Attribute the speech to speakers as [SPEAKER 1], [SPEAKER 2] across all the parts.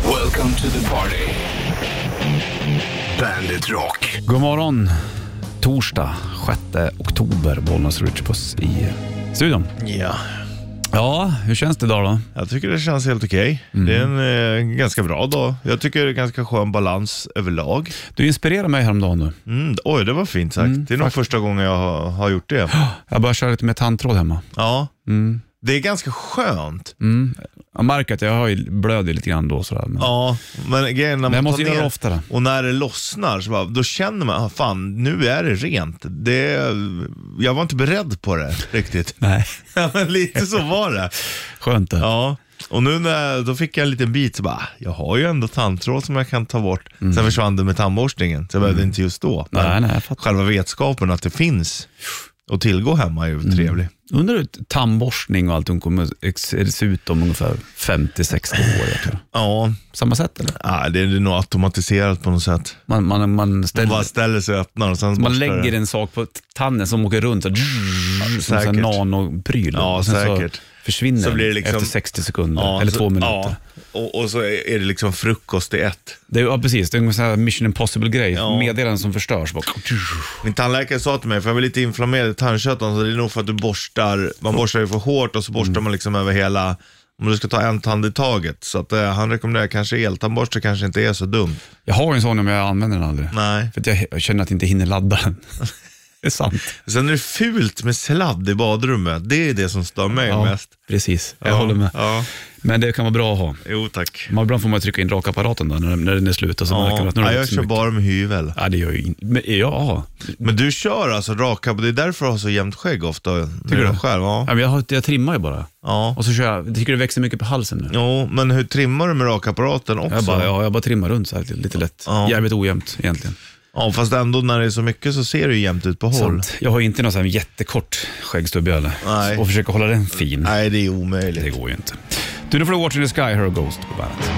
[SPEAKER 1] Welcome to the party. Bandit Rock.
[SPEAKER 2] God morgon. Torsdag 6 oktober, Bollnäs Ritchipus i studion.
[SPEAKER 3] Ja,
[SPEAKER 2] Ja, hur känns det idag då?
[SPEAKER 3] jag tycker det känns helt okej.
[SPEAKER 2] Mm.
[SPEAKER 3] Det är en eh, ganska bra dag. Jag tycker det är ganska skön balans överlag.
[SPEAKER 2] Du inspirerar mig häromdagen nu.
[SPEAKER 3] Mm, oj, det var fint sagt.
[SPEAKER 2] Mm,
[SPEAKER 3] det är nog första gången jag har, har gjort det.
[SPEAKER 2] Jag börjar köra lite med tandtråd hemma.
[SPEAKER 3] Ja.
[SPEAKER 2] Mm.
[SPEAKER 3] Det är ganska skönt.
[SPEAKER 2] Jag märker att jag har ju blöder lite grann då sådär. Men...
[SPEAKER 3] Ja, men grejen när
[SPEAKER 2] Men jag
[SPEAKER 3] man
[SPEAKER 2] måste
[SPEAKER 3] tar
[SPEAKER 2] göra
[SPEAKER 3] ner
[SPEAKER 2] det oftare.
[SPEAKER 3] och när det lossnar, så bara, då känner man, ah, fan, nu är det rent. Det, jag var inte beredd på det riktigt.
[SPEAKER 2] Nej,
[SPEAKER 3] Ja, men lite så var det.
[SPEAKER 2] skönt det.
[SPEAKER 3] Ja, och nu när, då fick jag en liten bit så bara, jag har ju ändå tandtråd som jag kan ta bort. Sen försvann det med tandborstningen, så jag behövde inte just då. Men
[SPEAKER 2] Mm. Nej, nej, jag fattar.
[SPEAKER 3] själva vetskapen att det finns att tillgå hemma är ju
[SPEAKER 2] Mm.
[SPEAKER 3] trevlig.
[SPEAKER 2] Undrar hur tandborstning och allt hon kommer ex- se ut om ungefär 50-60 år. Jag tror.
[SPEAKER 3] Ja,
[SPEAKER 2] Samma sätt eller?
[SPEAKER 3] ah, det är nog automatiserat på något sätt.
[SPEAKER 2] Man, man, man,
[SPEAKER 3] Man
[SPEAKER 2] ställer,
[SPEAKER 3] bara
[SPEAKER 2] man,
[SPEAKER 3] ställer sig och öppnar och sen borstar det.
[SPEAKER 2] lägger en sak på tanden som åker runt. Så, som en
[SPEAKER 3] säkert.
[SPEAKER 2] nanopryl.
[SPEAKER 3] Ja,
[SPEAKER 2] Och sen
[SPEAKER 3] säkert.
[SPEAKER 2] Så försvinner
[SPEAKER 3] Så blir det
[SPEAKER 2] den
[SPEAKER 3] liksom-
[SPEAKER 2] efter 60 sekunder
[SPEAKER 3] Ja,
[SPEAKER 2] eller
[SPEAKER 3] så-
[SPEAKER 2] två minuter.
[SPEAKER 3] Ja, och, och så är är det liksom frukost i ett.
[SPEAKER 2] Det är, ja, precis. Det är en sån här Mission Impossible-grej.
[SPEAKER 3] Ja.
[SPEAKER 2] Meddelanden som förstörs. Bara...
[SPEAKER 3] Min tandläkare sa till mig, för jag var lite inflammerad i tandköttan, så alltså, det är nog för att du borstar, man borstar ju för hårt och så borstar
[SPEAKER 2] Mm.
[SPEAKER 3] man liksom över hela, om du ska ta en tand i taget. Så att, eh, han rekommenderar kanske eltandborste kanske inte är så dumt.
[SPEAKER 2] Jag har en sån men jag använder den aldrig.
[SPEAKER 3] Nej.
[SPEAKER 2] För att jag, jag känner att jag inte hinner ladda den. det är sant.
[SPEAKER 3] Sen är det fult med sladd i badrummet, det är det som stör mig mest.
[SPEAKER 2] precis. Jag
[SPEAKER 3] Ja,
[SPEAKER 2] håller med.
[SPEAKER 3] Ja,
[SPEAKER 2] Men det kan vara bra att ha.
[SPEAKER 3] jo tack.
[SPEAKER 2] Man, ibland får man trycka in rakapparaten då, när, när den är slut. Och så märker man
[SPEAKER 3] Ja,
[SPEAKER 2] att nu har
[SPEAKER 3] ja,
[SPEAKER 2] det
[SPEAKER 3] jag
[SPEAKER 2] gått så
[SPEAKER 3] kör
[SPEAKER 2] mycket.
[SPEAKER 3] bara med hyvel.
[SPEAKER 2] Ja, det gör ju inget. Men ja,
[SPEAKER 3] Men du kör alltså raka, det är därför du har så jämnt skägg ofta. Tycker
[SPEAKER 2] du?
[SPEAKER 3] Själv,
[SPEAKER 2] ja.
[SPEAKER 3] ja.
[SPEAKER 2] men jag, har- jag trimmar ju bara.
[SPEAKER 3] ja.
[SPEAKER 2] Och så kör jag. jag tycker det växer mycket på halsen nu.
[SPEAKER 3] Jo, men hur trimmar du med rakapparaten också?
[SPEAKER 2] Jag bara, ja, jag bara trimmar runt så här lite, lite lätt.
[SPEAKER 3] Ja.
[SPEAKER 2] Jävligt ojämnt egentligen.
[SPEAKER 3] Ja, fast ändå när det är så mycket så ser det ju jämnt ut på håll.
[SPEAKER 2] Sant. Jag har inte någon sån här jättekort skäggstubbe heller.
[SPEAKER 3] Nej.
[SPEAKER 2] Och försöker hålla den fin.
[SPEAKER 3] Nej, det är
[SPEAKER 2] Det
[SPEAKER 3] omöjligt.
[SPEAKER 2] går ju inte. Du, nu får du Watch in the Sky, Hero Ghost på bandet.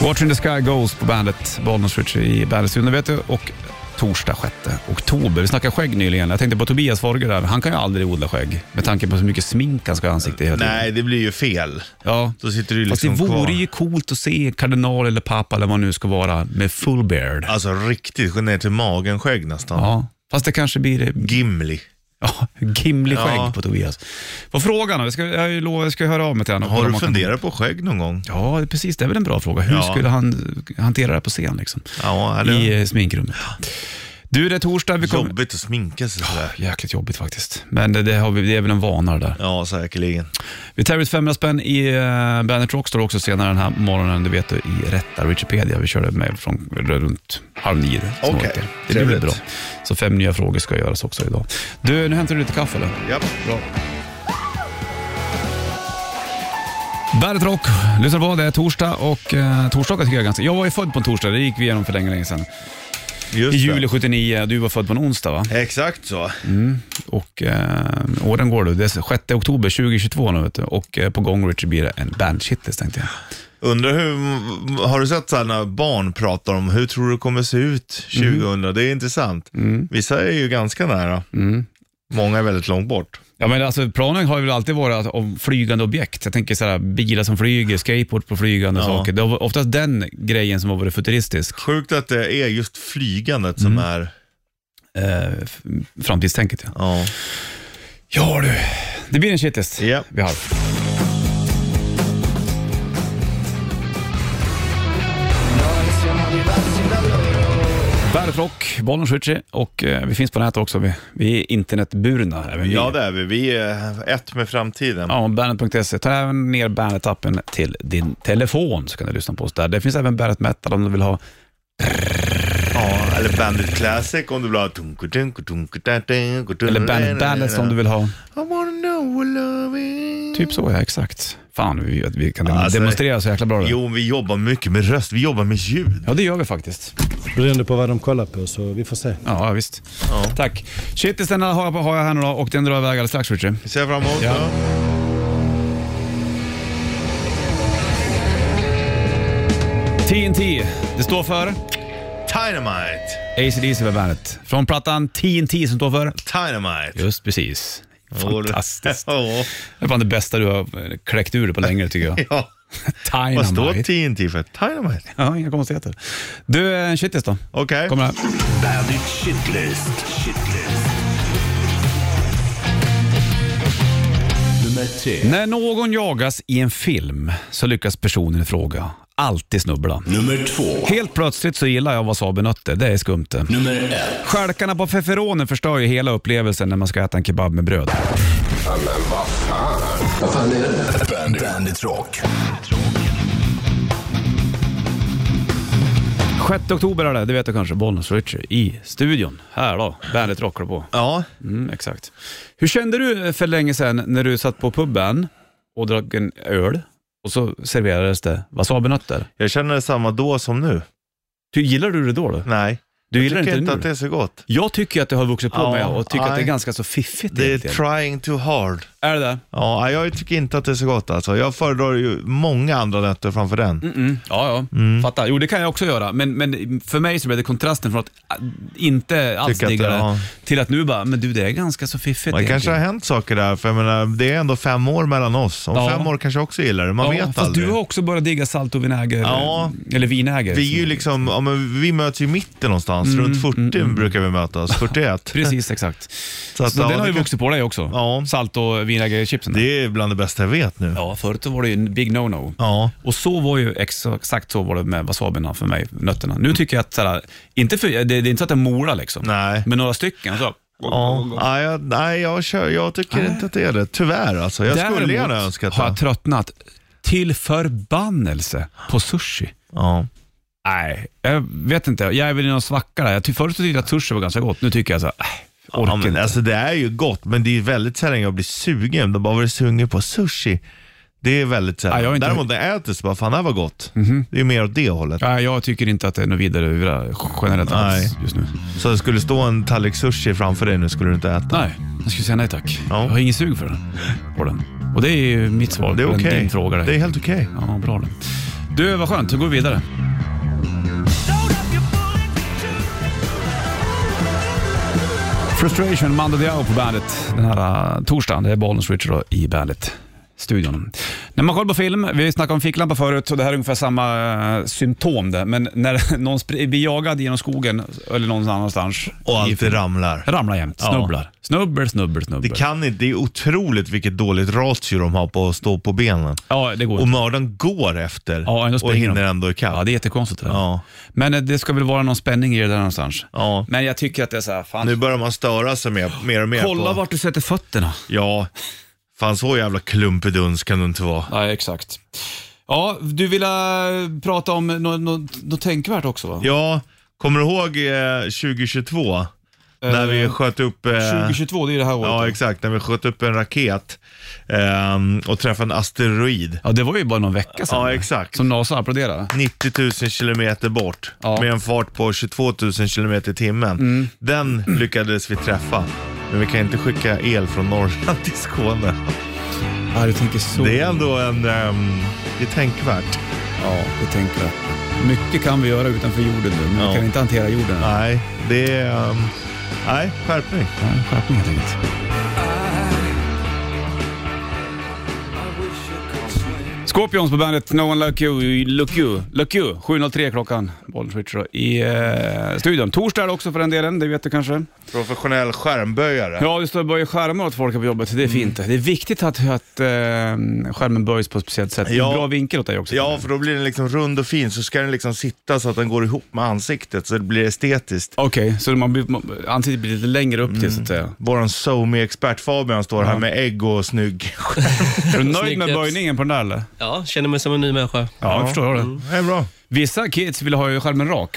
[SPEAKER 2] Watch in the Sky Ghost på bandet, Bollnäs Ritchie i bandet Nu vet du, och torsdag 6 oktober. Vi snackade skägg nyligen. Jag tänkte på Tobias Forge där. Han kan ju aldrig odla skägg med tanke på så mycket smink han ska ha i ansiktet hela tiden.
[SPEAKER 3] Nej, det blir ju fel.
[SPEAKER 2] Ja.
[SPEAKER 3] Då sitter du ju
[SPEAKER 2] Fast
[SPEAKER 3] liksom
[SPEAKER 2] det vore
[SPEAKER 3] kvar.
[SPEAKER 2] ju coolt att se kardinal eller pappa eller vad nu ska vara med full beard.
[SPEAKER 3] Alltså riktigt ner till magen-skägg nästan.
[SPEAKER 2] Ja. Fast det kanske blir
[SPEAKER 3] Gimli.
[SPEAKER 2] Ja, Gimli skägg
[SPEAKER 3] Ja.
[SPEAKER 2] på Tobias. Vad frågan då? Jag ska, jag, har ju lovat- jag ska höra av mig till honom.
[SPEAKER 3] Har
[SPEAKER 2] Kolla om
[SPEAKER 3] du
[SPEAKER 2] han kan-
[SPEAKER 3] funderat på skägg någon gång?
[SPEAKER 2] Ja, precis. Det är väl en bra fråga. Hur
[SPEAKER 3] Ja.
[SPEAKER 2] skulle han hantera det här på scen liksom?
[SPEAKER 3] Ja, eller?
[SPEAKER 2] I eh, sminkrummet. Du, det är torsdag. Vi kommer...
[SPEAKER 3] Jobbigt att sminka sig sådär.
[SPEAKER 2] Jäkligt jobbigt faktiskt. Men det, det, har vi, det är väl en vana det där.
[SPEAKER 3] Ja, säkerligen.
[SPEAKER 2] Vi tar ut 500 spänn i uh, Bandet Rock står också senare den här morgonen. Det vet du i rätta Wikipedia. Vi körde med från runt halv nio. som
[SPEAKER 3] Okej,
[SPEAKER 2] vanligt. Det blir
[SPEAKER 3] trevligt.
[SPEAKER 2] bra. Så fem nya frågor ska göras också idag. Du, nu hämtar du lite kaffe eller?
[SPEAKER 3] Ja, bra.
[SPEAKER 2] Bandet Rock, lyssna på det. är Torsdag och eh, torsdagar tycker jag är ganska... Jag var ju född på en torsdag, det gick vi igenom för länge, länge sedan.
[SPEAKER 3] Just
[SPEAKER 2] I
[SPEAKER 3] det.
[SPEAKER 2] juli 79, du var född på en onsdag va?
[SPEAKER 3] Exakt så.
[SPEAKER 2] Och eh, åren går du. Det är 6 oktober 2022 nu vet du. Och eh, på gång Richard blir det en bandshitlis tänkte jag.
[SPEAKER 3] Undrar hur, har du sett så här när barn pratar om hur tror du det kommer se ut
[SPEAKER 2] Mm.
[SPEAKER 3] 2000? Det är intressant. Vissa är ju ganska nära.
[SPEAKER 2] Mm.
[SPEAKER 3] Många är väldigt långt bort.
[SPEAKER 2] Ja men alltså planen har ju väl alltid varit att- om flygande objekt. Jag tänker såhär bilar som flyger, skateboard på flygande
[SPEAKER 3] Ja.
[SPEAKER 2] saker. Det var oftast den grejen som har varit futuristisk.
[SPEAKER 3] Sjukt att det är just flygandet som
[SPEAKER 2] Mm.
[SPEAKER 3] är,
[SPEAKER 2] Eh, f- framtidstänket ja.
[SPEAKER 3] ja.
[SPEAKER 2] Ja du, det blir en shitlist
[SPEAKER 3] Ja.
[SPEAKER 2] vi har. Bandet Rock, Bollnäs Ritchie och eh, vi finns på nätet också. Vi, vi är internetburna. även vi.
[SPEAKER 3] Ja, det är vi. Vi är ett med framtiden.
[SPEAKER 2] Ja, bandet.se. Ta även ner bandet-appen till din telefon så kan du lyssna på oss där. Det finns även bandet metal om du vill ha.
[SPEAKER 3] Ja, eller Bandit Classic om du vill ha... Eller
[SPEAKER 2] Eller bandet ballads om du vill ha.
[SPEAKER 3] I wanna know what love is.
[SPEAKER 2] Typ så, ja exakt. Fan, vi, vi kan
[SPEAKER 3] Alltså-
[SPEAKER 2] demonstrera så jäkla bra. det.
[SPEAKER 3] Jo, vi jobbar mycket med röst. Vi jobbar med ljud.
[SPEAKER 2] Ja, det gör vi faktiskt.
[SPEAKER 4] Beroende på vad de kollar på så vi får se.
[SPEAKER 2] Ja, ja, visst. Tack. Shitlisten har jag, har jag här nu då och den drar iväg alldeles strax Richard.
[SPEAKER 3] Vi ser fram emot ja.
[SPEAKER 2] TNT, det står för
[SPEAKER 3] Dynamite!
[SPEAKER 2] ACDC var bandet. Från plattan TNT som står för?
[SPEAKER 3] Dynamite!
[SPEAKER 2] Just precis. Fantastiskt.
[SPEAKER 3] Ja,
[SPEAKER 2] Det är fan det bästa du har kläckt ur dig på länge tycker jag.
[SPEAKER 3] ja. Vad står
[SPEAKER 2] Dynamite.
[SPEAKER 3] TNT för? Dynamite?
[SPEAKER 2] Ja, inga konstigheter. Du, en shitlist då.
[SPEAKER 3] Okej.
[SPEAKER 2] Kommer här.
[SPEAKER 1] Bandit Shitlist. Shitlist. Nummer tre.
[SPEAKER 2] När någon jagas i en film så lyckas personen i fråga alltid snubbla.
[SPEAKER 1] Nummer två.
[SPEAKER 2] Helt plötsligt så gillar jag wasabinötter, det är skumt det.
[SPEAKER 1] Nummer ett.
[SPEAKER 2] Stjälkarna på feferonen förstör ju hela upplevelsen när man ska äta en kebab med bröd.
[SPEAKER 1] Bandit, Bandit Rock.
[SPEAKER 2] 6 oktober är det, det vet du kanske, Bollnäs Richie i studion. Här då, bandet rockar på.
[SPEAKER 3] Ja.
[SPEAKER 2] Mm, exakt. Hur kände du eh, för länge sedan när du satt på puben och drack en öl och så serverades det wasabinötter?
[SPEAKER 3] Jag känner samma då som nu.
[SPEAKER 2] Hur gillar du det då? då?
[SPEAKER 3] Nej.
[SPEAKER 2] Du gillar
[SPEAKER 3] jag
[SPEAKER 2] inte
[SPEAKER 3] tycker
[SPEAKER 2] det
[SPEAKER 3] inte
[SPEAKER 2] nu?
[SPEAKER 3] att det är så gott.
[SPEAKER 2] Jag tycker att det har vuxit på
[SPEAKER 3] Ja,
[SPEAKER 2] mig och tycker att det är
[SPEAKER 3] nej.
[SPEAKER 2] ganska så fiffigt
[SPEAKER 3] Det är
[SPEAKER 2] egentligen.
[SPEAKER 3] trying too hard.
[SPEAKER 2] Är det det?
[SPEAKER 3] Ja, nej, jag tycker inte att det är så gott alltså. Jag föredrar ju många andra nätter framför den.
[SPEAKER 2] Mm, ja, ja. Fattar. Jo, det kan jag också göra. Men, men för mig så blev det kontrasten från att äh, inte alls
[SPEAKER 3] Tycker att det-
[SPEAKER 2] digga det,
[SPEAKER 3] ja.
[SPEAKER 2] till att nu bara, men du det är ganska så fiffigt
[SPEAKER 3] Men det kanske har
[SPEAKER 2] egentligen.
[SPEAKER 3] hänt saker där, för jag menar, det är ändå fem år mellan oss. Om
[SPEAKER 2] Ja.
[SPEAKER 3] fem år kanske jag också gillar det, man
[SPEAKER 2] ja,
[SPEAKER 3] vet
[SPEAKER 2] fast
[SPEAKER 3] aldrig.
[SPEAKER 2] du har också börjat digga salt och vinäger,
[SPEAKER 3] Ja.
[SPEAKER 2] eller vinäger.
[SPEAKER 3] Vi är ju
[SPEAKER 2] som-
[SPEAKER 3] liksom, ja, men vi möts ju i mitten någonstans, runt 40 brukar vi mötas, 41.
[SPEAKER 2] Mm, Precis, exakt.
[SPEAKER 3] Så att,
[SPEAKER 2] Så
[SPEAKER 3] ja,
[SPEAKER 2] den har
[SPEAKER 3] det
[SPEAKER 2] ju
[SPEAKER 3] kan-
[SPEAKER 2] vuxit på dig också.
[SPEAKER 3] Ja.
[SPEAKER 2] Salt och vinägerchipsen.
[SPEAKER 3] Det är bland det bästa jag vet nu.
[SPEAKER 2] Ja, förut så var det ju en big no-no.
[SPEAKER 3] Ja.
[SPEAKER 2] Och så var ju exakt så var det med wasabina för mig, nötterna. Nu tycker jag att, såhär, inte för, det, det är inte så att jag molar liksom,
[SPEAKER 3] Nej.
[SPEAKER 2] men några stycken. Så.
[SPEAKER 3] Ja. Nej, jag, nej, jag, kör, jag tycker inte att det är det. Tyvärr alltså. Jag skulle gärna önska att
[SPEAKER 2] Ah. har jag tröttnat till förbannelse på sushi.
[SPEAKER 3] ja.
[SPEAKER 2] Nej, jag vet inte. Jag är väl i någon svacka där. Jag ty- Förut så tyckte jag att sushi var ganska gott. Nu tycker jag så här, äh, orkar
[SPEAKER 3] Ja, men,
[SPEAKER 2] inte.
[SPEAKER 3] alltså det är ju gott, men det är väldigt sällan jag blir sugen. De bara, var du sugen på sushi? Det är väldigt sällan.
[SPEAKER 2] Ja, jag är inte- Mhm.
[SPEAKER 3] Däremot när jag äter så bara, fan det här var gott. Det är ju mer åt det hållet.
[SPEAKER 2] Nej, jag tycker inte att det är något vidare generellt alls
[SPEAKER 3] Nej.
[SPEAKER 2] just nu.
[SPEAKER 3] Så det skulle stå en tallrik sushi framför dig nu skulle du inte äta.
[SPEAKER 2] Nej, jag skulle säga nej tack.
[SPEAKER 3] Ja.
[SPEAKER 2] Jag har ingen sug för den. På den. Och det är ju mitt svar
[SPEAKER 3] Det är
[SPEAKER 2] på
[SPEAKER 3] okej.
[SPEAKER 2] din fråga. Där.
[SPEAKER 3] Det är helt okej.
[SPEAKER 2] Ja, bra det. Du, vad skönt. Då går vi vidare. Frustration, Mando Diao på bandet den här uh, torsdagen. Det är Bollnäs Richard då i bandet. Studion. När man kollar på film, vi snackade om ficklampa förut och det här är ungefär samma eh, symptom det, men när någon spr- blir jagad genom skogen eller någon annanstans.
[SPEAKER 3] Och
[SPEAKER 2] i-
[SPEAKER 3] allt det ramlar.
[SPEAKER 2] Ramlar jämt,
[SPEAKER 3] Ja.
[SPEAKER 2] snubblar. Snubbel, snubbel, snubbel.
[SPEAKER 3] Det kan inte, det är otroligt vilket dåligt ratio de har på att stå på benen.
[SPEAKER 2] Ja, det går
[SPEAKER 3] Och
[SPEAKER 2] inte.
[SPEAKER 3] mördaren går efter
[SPEAKER 2] Ja, ändå
[SPEAKER 3] och
[SPEAKER 2] springer
[SPEAKER 3] hinner
[SPEAKER 2] de.
[SPEAKER 3] ändå ikapp.
[SPEAKER 2] Ja, det är jättekonstigt det där.
[SPEAKER 3] Ja.
[SPEAKER 2] Men eh, det ska väl vara någon spänning i det där någonstans.
[SPEAKER 3] Ja.
[SPEAKER 2] Men jag tycker att det är så här, fan.
[SPEAKER 3] Nu börjar man störa sig mer, mer och mer
[SPEAKER 2] kolla
[SPEAKER 3] på...
[SPEAKER 2] vart du sätter fötterna.
[SPEAKER 3] Ja, fan så jävla klumpeduns kan du inte vara.
[SPEAKER 2] Nej, exakt. Ja, du ville prata om något no, no tänkvärt också va?
[SPEAKER 3] Ja, kommer du ihåg eh, 2022? när vi sköt upp... Eh,
[SPEAKER 2] 2022, det är det här året.
[SPEAKER 3] Ja, exakt. När vi sköt upp en raket ehm, och träffade en asteroid.
[SPEAKER 2] ja, det var ju bara någon vecka sedan.
[SPEAKER 3] Ja, exakt.
[SPEAKER 2] Som NASA applåderade.
[SPEAKER 3] 90 000 kilometer bort
[SPEAKER 2] Ja. Mm.
[SPEAKER 3] med en fart på 22 000 kilometer i timmen. Den lyckades vi träffa. Men vi kan inte skicka el från Norrland till Skåne.
[SPEAKER 2] Ja, du tänker så.
[SPEAKER 3] Det är ändå en... ehm, det är tänkvärt.
[SPEAKER 2] Ja, det tänker jag. Mycket kan vi göra utanför jorden nu, men vi
[SPEAKER 3] Ja.
[SPEAKER 2] kan inte hantera jorden.
[SPEAKER 3] Nej, det är... ehm, nej, skärpning.
[SPEAKER 2] Ja, skärpning helt enkelt. Scorpions på bandet No One Like You, Look You, Look You, 7.03 klockan, Bollnäs Ritcher i eh, studion. Torsdag är det också för den delen, det vet du kanske.
[SPEAKER 3] Professionell skärmböjare.
[SPEAKER 2] Ja, det står böja skärmar åt folk här på jobbet, det är fint det. Det är viktigt att, att eh, skärmen böjs på ett speciellt sätt.
[SPEAKER 3] Ja.
[SPEAKER 2] En bra vinkel åt dig också.
[SPEAKER 3] Ja, för då blir den liksom rund och fin, så ska den liksom sitta så att den går ihop med ansiktet, så det blir estetiskt.
[SPEAKER 2] Okej, så man blir, man, ansiktet blir lite längre upp till så att säga.
[SPEAKER 3] Vår SoMe-expert Fabian står här med ägg och snygg
[SPEAKER 2] Är du nöjd
[SPEAKER 5] Snyggt
[SPEAKER 2] med
[SPEAKER 5] tips.
[SPEAKER 2] böjningen på den där eller?
[SPEAKER 5] Ja, känner mig som en ny människa.
[SPEAKER 2] Ja, jag förstår det.
[SPEAKER 3] Det är bra.
[SPEAKER 2] Vissa kids vill ha ju skärmen rak.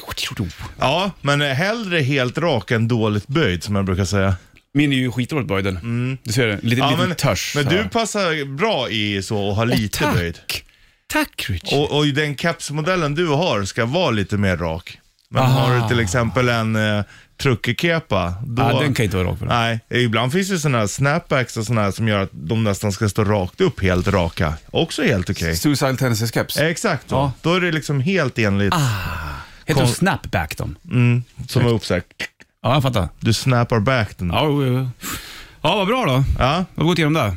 [SPEAKER 3] Ja, men hellre helt rak än dåligt böjd, som jag brukar säga.
[SPEAKER 2] Min är ju skitdåligt böjd den. Du ser det, lite,
[SPEAKER 3] Mm. Ja,
[SPEAKER 2] lite
[SPEAKER 3] men,
[SPEAKER 2] törs.
[SPEAKER 3] men
[SPEAKER 2] så
[SPEAKER 3] du
[SPEAKER 2] här.
[SPEAKER 3] passar bra i så och har lite
[SPEAKER 2] Åh,
[SPEAKER 3] böjd.
[SPEAKER 2] Tack, tack Rich.
[SPEAKER 3] Och, och den kepsmodellen du har ska vara lite mer rak. Men
[SPEAKER 2] Aha.
[SPEAKER 3] har du till exempel en eh, truckerkepa, då...
[SPEAKER 2] Ja, den kan inte vara rak på den.
[SPEAKER 3] Nej, ibland finns det sådana här snapbacks och sådana här som gör att de nästan ska stå rakt upp, helt raka. Också helt okej.
[SPEAKER 2] Suicide Tendency Caps.
[SPEAKER 3] Exakt, va?
[SPEAKER 2] Ja. Ah,
[SPEAKER 3] då är det liksom helt enligt
[SPEAKER 2] Heter de
[SPEAKER 3] Kom-
[SPEAKER 2] Snapback de?
[SPEAKER 3] som är uppsagt.
[SPEAKER 2] Ja, jag fattar.
[SPEAKER 3] Du snappar back den.
[SPEAKER 2] Ja, jo, jo, jo. Ja, vad bra då.
[SPEAKER 3] Ja,
[SPEAKER 2] Då har vi gått igenom det.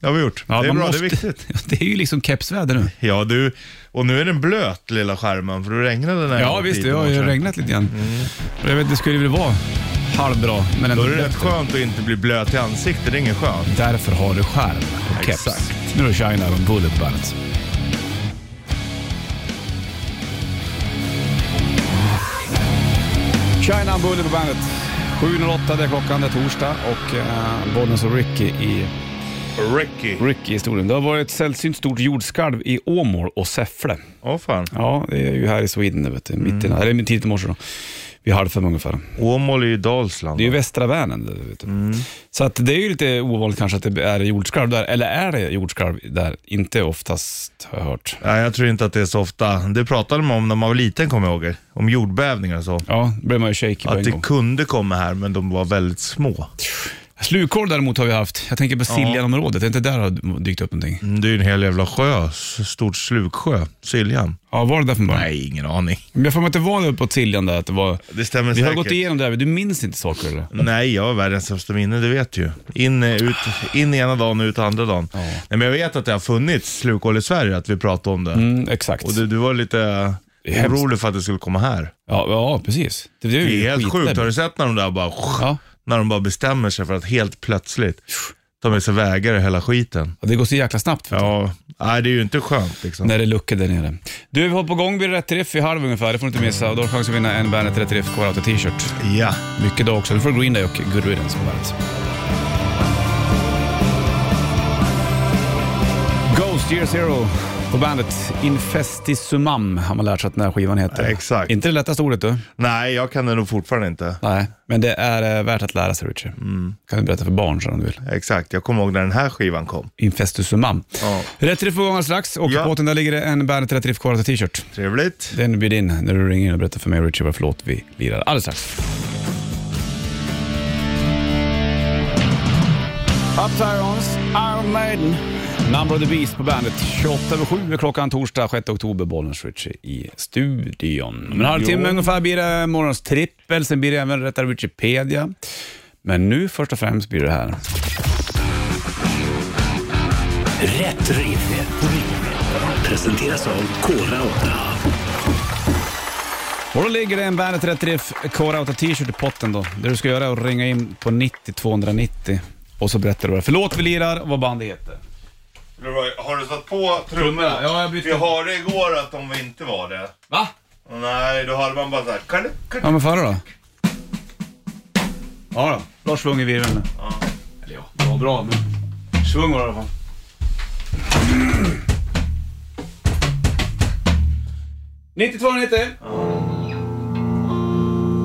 [SPEAKER 3] det har vi gjort.
[SPEAKER 2] Ja,
[SPEAKER 3] det är
[SPEAKER 2] man
[SPEAKER 3] bra,
[SPEAKER 2] måste-
[SPEAKER 3] det är viktigt.
[SPEAKER 2] Det är ju liksom kepsväder nu.
[SPEAKER 3] Ja, du. Och nu är den blöt, lilla skärmen, för det regnade när jag
[SPEAKER 2] Ja,
[SPEAKER 3] var
[SPEAKER 2] visst.
[SPEAKER 3] hit i
[SPEAKER 2] Det har ju
[SPEAKER 3] morse.
[SPEAKER 2] regnat lite grann. Och Jag vet, det skulle väl vara halvbra, men
[SPEAKER 3] Då
[SPEAKER 2] ändå
[SPEAKER 3] är det rätt
[SPEAKER 2] bättre.
[SPEAKER 3] skönt att inte bli blöt i ansiktet, det är ingen skönt.
[SPEAKER 2] Därför har du skärm och keps.
[SPEAKER 3] Exakt.
[SPEAKER 2] Nu är det China och Bullet Bandet. China and Bullet på bandet. 7.08 det är klockan, det är torsdag och eh, Bollnäs och Ricky i
[SPEAKER 3] Ricky.
[SPEAKER 2] Ricky-historien. Det har varit ett sällsynt stort jordskalv i Åmål och Säffle.
[SPEAKER 3] Åh fan.
[SPEAKER 2] Ja, det är ju här i Sweden nu vet du, mitt i natten, eller tidigt i morse då. Vid halv fem ungefär.
[SPEAKER 3] Åmål är ju Dalsland.
[SPEAKER 2] Det är ju västra Vänern. det Vet du.
[SPEAKER 3] Mm.
[SPEAKER 2] Så att det är ju lite ovanligt kanske att det är jordskalv där. Eller är det jordskalv där? Inte oftast har jag hört.
[SPEAKER 3] Nej, jag tror inte att det är så ofta. Det pratade man om när man var liten, kommer jag ihåg. Om jordbävningar och så.
[SPEAKER 2] Ja, då blir man ju shaky på
[SPEAKER 3] Att
[SPEAKER 2] en
[SPEAKER 3] det
[SPEAKER 2] gång.
[SPEAKER 3] kunde komma här, men de var väldigt små.
[SPEAKER 2] Slukhål däremot har vi haft. Jag tänker på Siljanområdet. Det är inte där det har dykt upp någonting?
[SPEAKER 3] Mm, Det är ju en hel jävla sjö. s- Stort sluksjö. Siljan.
[SPEAKER 2] Ja, var det där från början?
[SPEAKER 3] Nej, ingen aning.
[SPEAKER 2] Men jag får mig att det var uppåt Siljan där. Att det var...
[SPEAKER 3] Det stämmer
[SPEAKER 2] Vi har
[SPEAKER 3] säkert.
[SPEAKER 2] gått igenom det här, men du minns inte saker eller?
[SPEAKER 3] Nej, jag har världens sämsta minne, det vet du ju. In, eh, ut, in ena dagen och ut andra dagen. Nej, men jag vet att det har funnits slukhål i Sverige, att vi pratade om det.
[SPEAKER 2] Mm, exakt.
[SPEAKER 3] Och du, du var lite
[SPEAKER 2] Det är hemskt.
[SPEAKER 3] orolig för att det skulle komma här.
[SPEAKER 2] Ja, ja, precis. Det, det är ju
[SPEAKER 3] Det är helt
[SPEAKER 2] skitläbbigt.
[SPEAKER 3] sjukt. Har du sett när de där bara...
[SPEAKER 2] Ja.
[SPEAKER 3] När de bara bestämmer sig för att helt plötsligt ta med sig vägar i hela skiten.
[SPEAKER 2] Ja, Det går så jäkla snabbt. vet du.
[SPEAKER 3] Ja, nej det är ju inte skönt liksom.
[SPEAKER 2] När det är luckor där nere. Du, vi har på gång vid Rätt Riff vid halv ungefär. Det får du inte missa. Och då har du chans att vinna en Bandet Rätt Riff Core T-shirt.
[SPEAKER 3] Ja.
[SPEAKER 2] Mycket då också. Du får Green Day och Good Riddance på bandet. Ghost Year Zero på bandet Infestisumam har man lärt sig att den här skivan heter.
[SPEAKER 3] Exakt.
[SPEAKER 2] Inte det lättaste ordet du.
[SPEAKER 3] Nej, jag kan det nog fortfarande inte.
[SPEAKER 2] Nej, men det är eh, värt att lära sig Richie.
[SPEAKER 3] Mm.
[SPEAKER 2] Kan du berätta för barn sen om du vill.
[SPEAKER 3] Exakt, jag kommer ihåg när den här skivan kom.
[SPEAKER 2] Infestisumam.
[SPEAKER 3] Ja.
[SPEAKER 2] Rätt Riff på gång alldeles strax och
[SPEAKER 3] Ja.
[SPEAKER 2] på båten där ligger det en Bandet Rätt Riff Core T-shirt.
[SPEAKER 3] Trevligt.
[SPEAKER 2] Den bjuder in när du ringer och berättar för mig och Richie varför låt vi lirar alldeles strax. Up Tyrons, Iron Maiden, Number of the Beast på bandet. 28 över 7 är klockan torsdag 6 oktober, Bollnäs Richie i studion. Om en halvtimme ungefär blir det morgons trippel, sen blir det även rättare Wikipedia. Men nu först och främst blir det här.
[SPEAKER 1] Rätt riff. Presenteras av Kora 8.
[SPEAKER 2] Och då ligger det en Bandet Rätt Riff Core Outta T-shirt i potten då. Det du ska göra är att ringa in på 90 290 och så berättar du vad för låt vi lirar och vad bandet heter.
[SPEAKER 3] Leroy, Har du satt på
[SPEAKER 2] Trummorna? Ja, jag bytte.
[SPEAKER 3] Vi hörde igår att de inte var det.
[SPEAKER 2] Va?
[SPEAKER 3] Nej, då hörde man bara såhär...
[SPEAKER 2] Ja men förra då? Ja då. Lars svung i virveln nu. Eller ja, det var bra men... Svung var det i alla fall.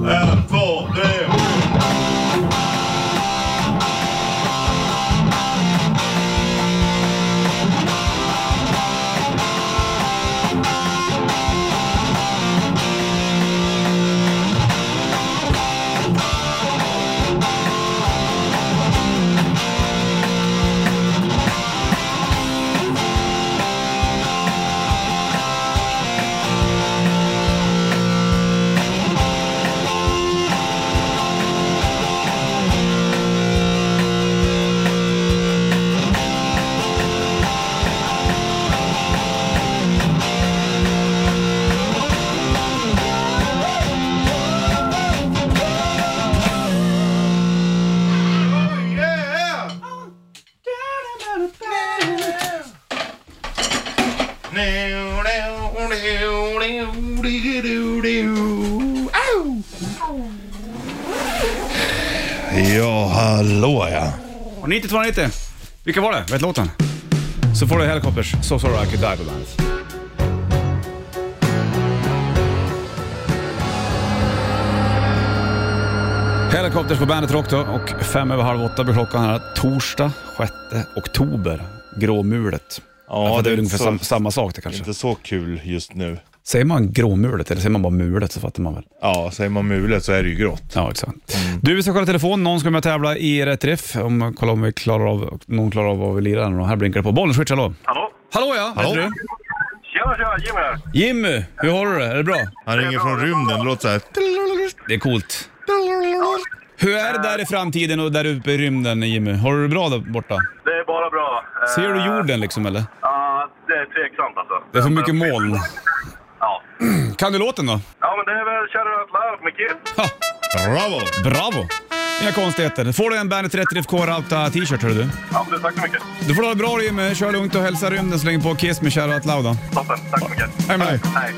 [SPEAKER 3] En, två, tre. Oh, yeah! Ja, hallå ja.
[SPEAKER 2] Och 90 290. Vilka var det? Vet låten? Så får du Helicopters, So Sorry I Could Die på bandet. Helicopters på bandet Rock då och fem över halv åtta blir klockan här. Torsdag 6 oktober, gråmulet. Därför att det är väl ungefär sam- samma sak det kanske.
[SPEAKER 3] inte så kul just nu.
[SPEAKER 2] Säger man gråmulet eller säger man bara mulet så fattar man väl.
[SPEAKER 3] Ja, säger man mulet så är det ju grått.
[SPEAKER 2] Ja, exakt. Du, vi ska kolla telefon. Någon ska med och tävla i rätt riff. Om, kolla om vi klarar av, någon klarar av vad vi lirar. nu. Här blinkar det på. Bollen switch, hallå.
[SPEAKER 5] Hallå?
[SPEAKER 2] Hallå ja, hallå.
[SPEAKER 3] Hallå.
[SPEAKER 2] du?
[SPEAKER 5] Tjena, tjena, Jim här.
[SPEAKER 2] Jimmy, hur har du det? Är det bra?
[SPEAKER 3] Han ringer från rymden, det låter såhär...
[SPEAKER 2] Det är coolt. Hur är det där i framtiden och där uppe i rymden Jimmy? Har du det bra där borta?
[SPEAKER 5] Det är bara bra. Eh,
[SPEAKER 2] Ser du jorden liksom eller?
[SPEAKER 5] Ja, det är tveksamt alltså.
[SPEAKER 2] Det är för mycket moln.
[SPEAKER 5] Ja.
[SPEAKER 2] Kan du låten då?
[SPEAKER 5] ja, men det är väl Kärra Larv med Kid.
[SPEAKER 2] Ha,
[SPEAKER 3] Bravo!
[SPEAKER 2] bravo! Inga konstigheter. Får du en Bandet 30 FK Rauta t-shirt hör du.
[SPEAKER 5] Ja, men du, tack så mycket.
[SPEAKER 2] Du får ha det bra Jimmy. Kör lugnt och hälsa rymden så länge på Kiss med Shout Out Loud. då.
[SPEAKER 5] Toppen. Tack så mycket.
[SPEAKER 2] Hej med dig.
[SPEAKER 5] Hej.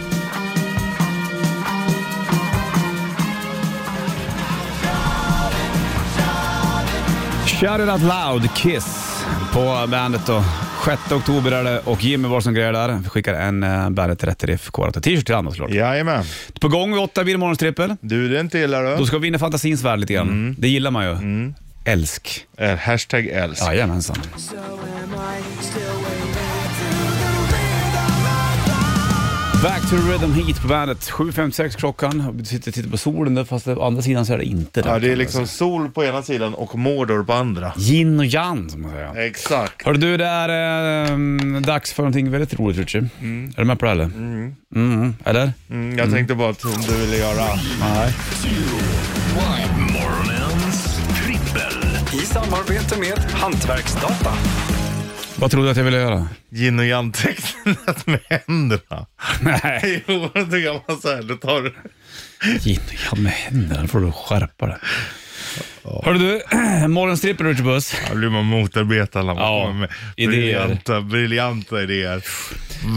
[SPEAKER 2] Shout It Out Loud, Kiss på bandet då. 6 oktober är det och Jimmy var som grejer där. Vi skickar en eh, Bandet 30 FK Rauta t-shirt till Anna såklart.
[SPEAKER 3] Jajamän.
[SPEAKER 2] På gång vid åtta blir det morgonstrippel.
[SPEAKER 3] Du, det är inte illa
[SPEAKER 2] Då
[SPEAKER 3] du.
[SPEAKER 2] ska vi in i fantasins värld lite grann.
[SPEAKER 3] Mm.
[SPEAKER 2] Det gillar man ju. Älsk.
[SPEAKER 3] Eh, Hashtag älsk.
[SPEAKER 2] Jajamensan.
[SPEAKER 6] So am I still waiting to the rhythm of
[SPEAKER 2] Back to rhythm heat på bandet. 7.56 klockan. Vi sitter och tittar på solen där, fast å andra sidan så är det inte det.
[SPEAKER 3] Ja, det är liksom sol på ena sidan och Mordor på andra.
[SPEAKER 2] Yin och yang, som man säger.
[SPEAKER 3] Exakt.
[SPEAKER 2] Hörru du, det är eh, dags för någonting väldigt roligt Richie. Är du med på det eller? Mm. Eller?
[SPEAKER 3] Mm, jag tänkte bara att du ville göra...
[SPEAKER 2] Nej.
[SPEAKER 1] Morgonens trippel.
[SPEAKER 7] I samarbete med Hantverksdata.
[SPEAKER 2] Vad trodde du att jag ville göra?
[SPEAKER 3] Yin och yang-tecknet med händerna.
[SPEAKER 2] Nej.
[SPEAKER 3] Jo, då gör man så här. Då tar du...
[SPEAKER 2] Yin och yang med händerna, då får du skärpa dig. Hörru du, morgonstrippen Richie Puss.
[SPEAKER 3] Ja, blir man motarbetad när man
[SPEAKER 2] Ja,
[SPEAKER 3] kommer med
[SPEAKER 2] idéer.
[SPEAKER 3] briljanta, briljanta idéer.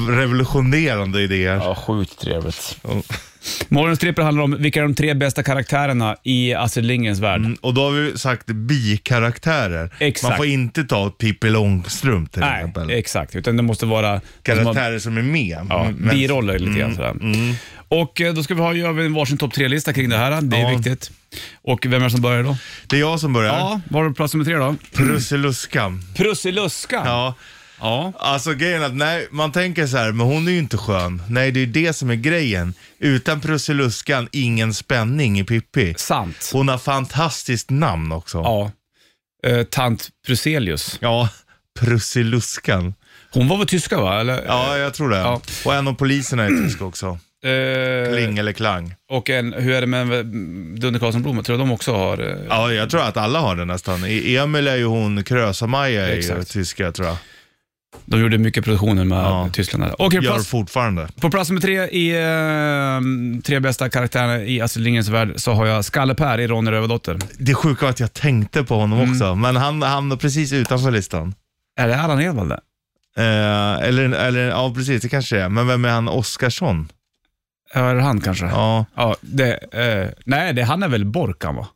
[SPEAKER 3] Revolutionerande idéer.
[SPEAKER 2] Ja, sjukt trevligt. Morgonstrippen handlar om vilka är de tre bästa karaktärerna i Astrid Lindgrens värld.
[SPEAKER 3] Mm, Och då har vi sagt bikaraktärer.
[SPEAKER 2] Exakt.
[SPEAKER 3] Man får inte ta Pippi Långstrump till
[SPEAKER 2] Nej,
[SPEAKER 3] exempel.
[SPEAKER 2] exakt. Utan det måste vara...
[SPEAKER 3] Karaktärer som är med. Mm,
[SPEAKER 2] Ja,
[SPEAKER 3] Men- men-
[SPEAKER 2] biroller lite grann sådär. Och eh, då ska vi ha gör vi en varsin topp tre-lista kring det här. Det är
[SPEAKER 3] Ja.
[SPEAKER 2] viktigt. Och vem är det som börjar då?
[SPEAKER 3] Det är jag som börjar.
[SPEAKER 2] Ja, var har du plats nummer tre då?
[SPEAKER 3] Prussiluskan.
[SPEAKER 2] Prussiluska.
[SPEAKER 3] Ja.
[SPEAKER 2] ja.
[SPEAKER 3] Alltså grejen är att nej, man tänker så här, men hon är ju inte skön. Nej, det är ju det som är grejen. Utan Prussiluskan, ingen spänning i Pippi.
[SPEAKER 2] Sant.
[SPEAKER 3] Hon har fantastiskt namn också.
[SPEAKER 2] Ja. Eh, tant Pruselius.
[SPEAKER 3] Ja, Prussiluskan.
[SPEAKER 2] Hon var väl tyska va? Eller?
[SPEAKER 3] Ja, jag tror det.
[SPEAKER 2] Ja.
[SPEAKER 3] Och en av poliserna är tysk också.
[SPEAKER 2] Eh,
[SPEAKER 3] Kling eller Klang.
[SPEAKER 2] och en, hur är det med mm, Dunder Karlsson Blom? Jag tror de också har... eh,
[SPEAKER 3] Ja, jag tror att alla har det nästan. I- Emil är ju hon, Krösa-Maja är ju
[SPEAKER 2] Exakt.
[SPEAKER 3] tyska tror jag.
[SPEAKER 2] De gjorde mycket produktioner med
[SPEAKER 3] Ja.
[SPEAKER 2] Tyskland. där. Okej,
[SPEAKER 3] Gör
[SPEAKER 2] plats,
[SPEAKER 3] fortfarande.
[SPEAKER 2] På plats nummer tre i eh, tre bästa karaktärerna i Astrid Lindgrens värld så har jag Skalle-Per i Ronny Rövardotter.
[SPEAKER 3] Det sjuka var att jag tänkte på honom
[SPEAKER 2] Mm.
[SPEAKER 3] också, men han hamnade precis utanför listan.
[SPEAKER 2] Är det Allan Edwall det?
[SPEAKER 3] Eh, eller, eller, ja precis, det kanske det är. Men vem är han? Oskarsson?
[SPEAKER 2] Ja, är det han kanske?
[SPEAKER 3] Ja.
[SPEAKER 2] Ja, det, eh, nej, det, han är väl Borkan va?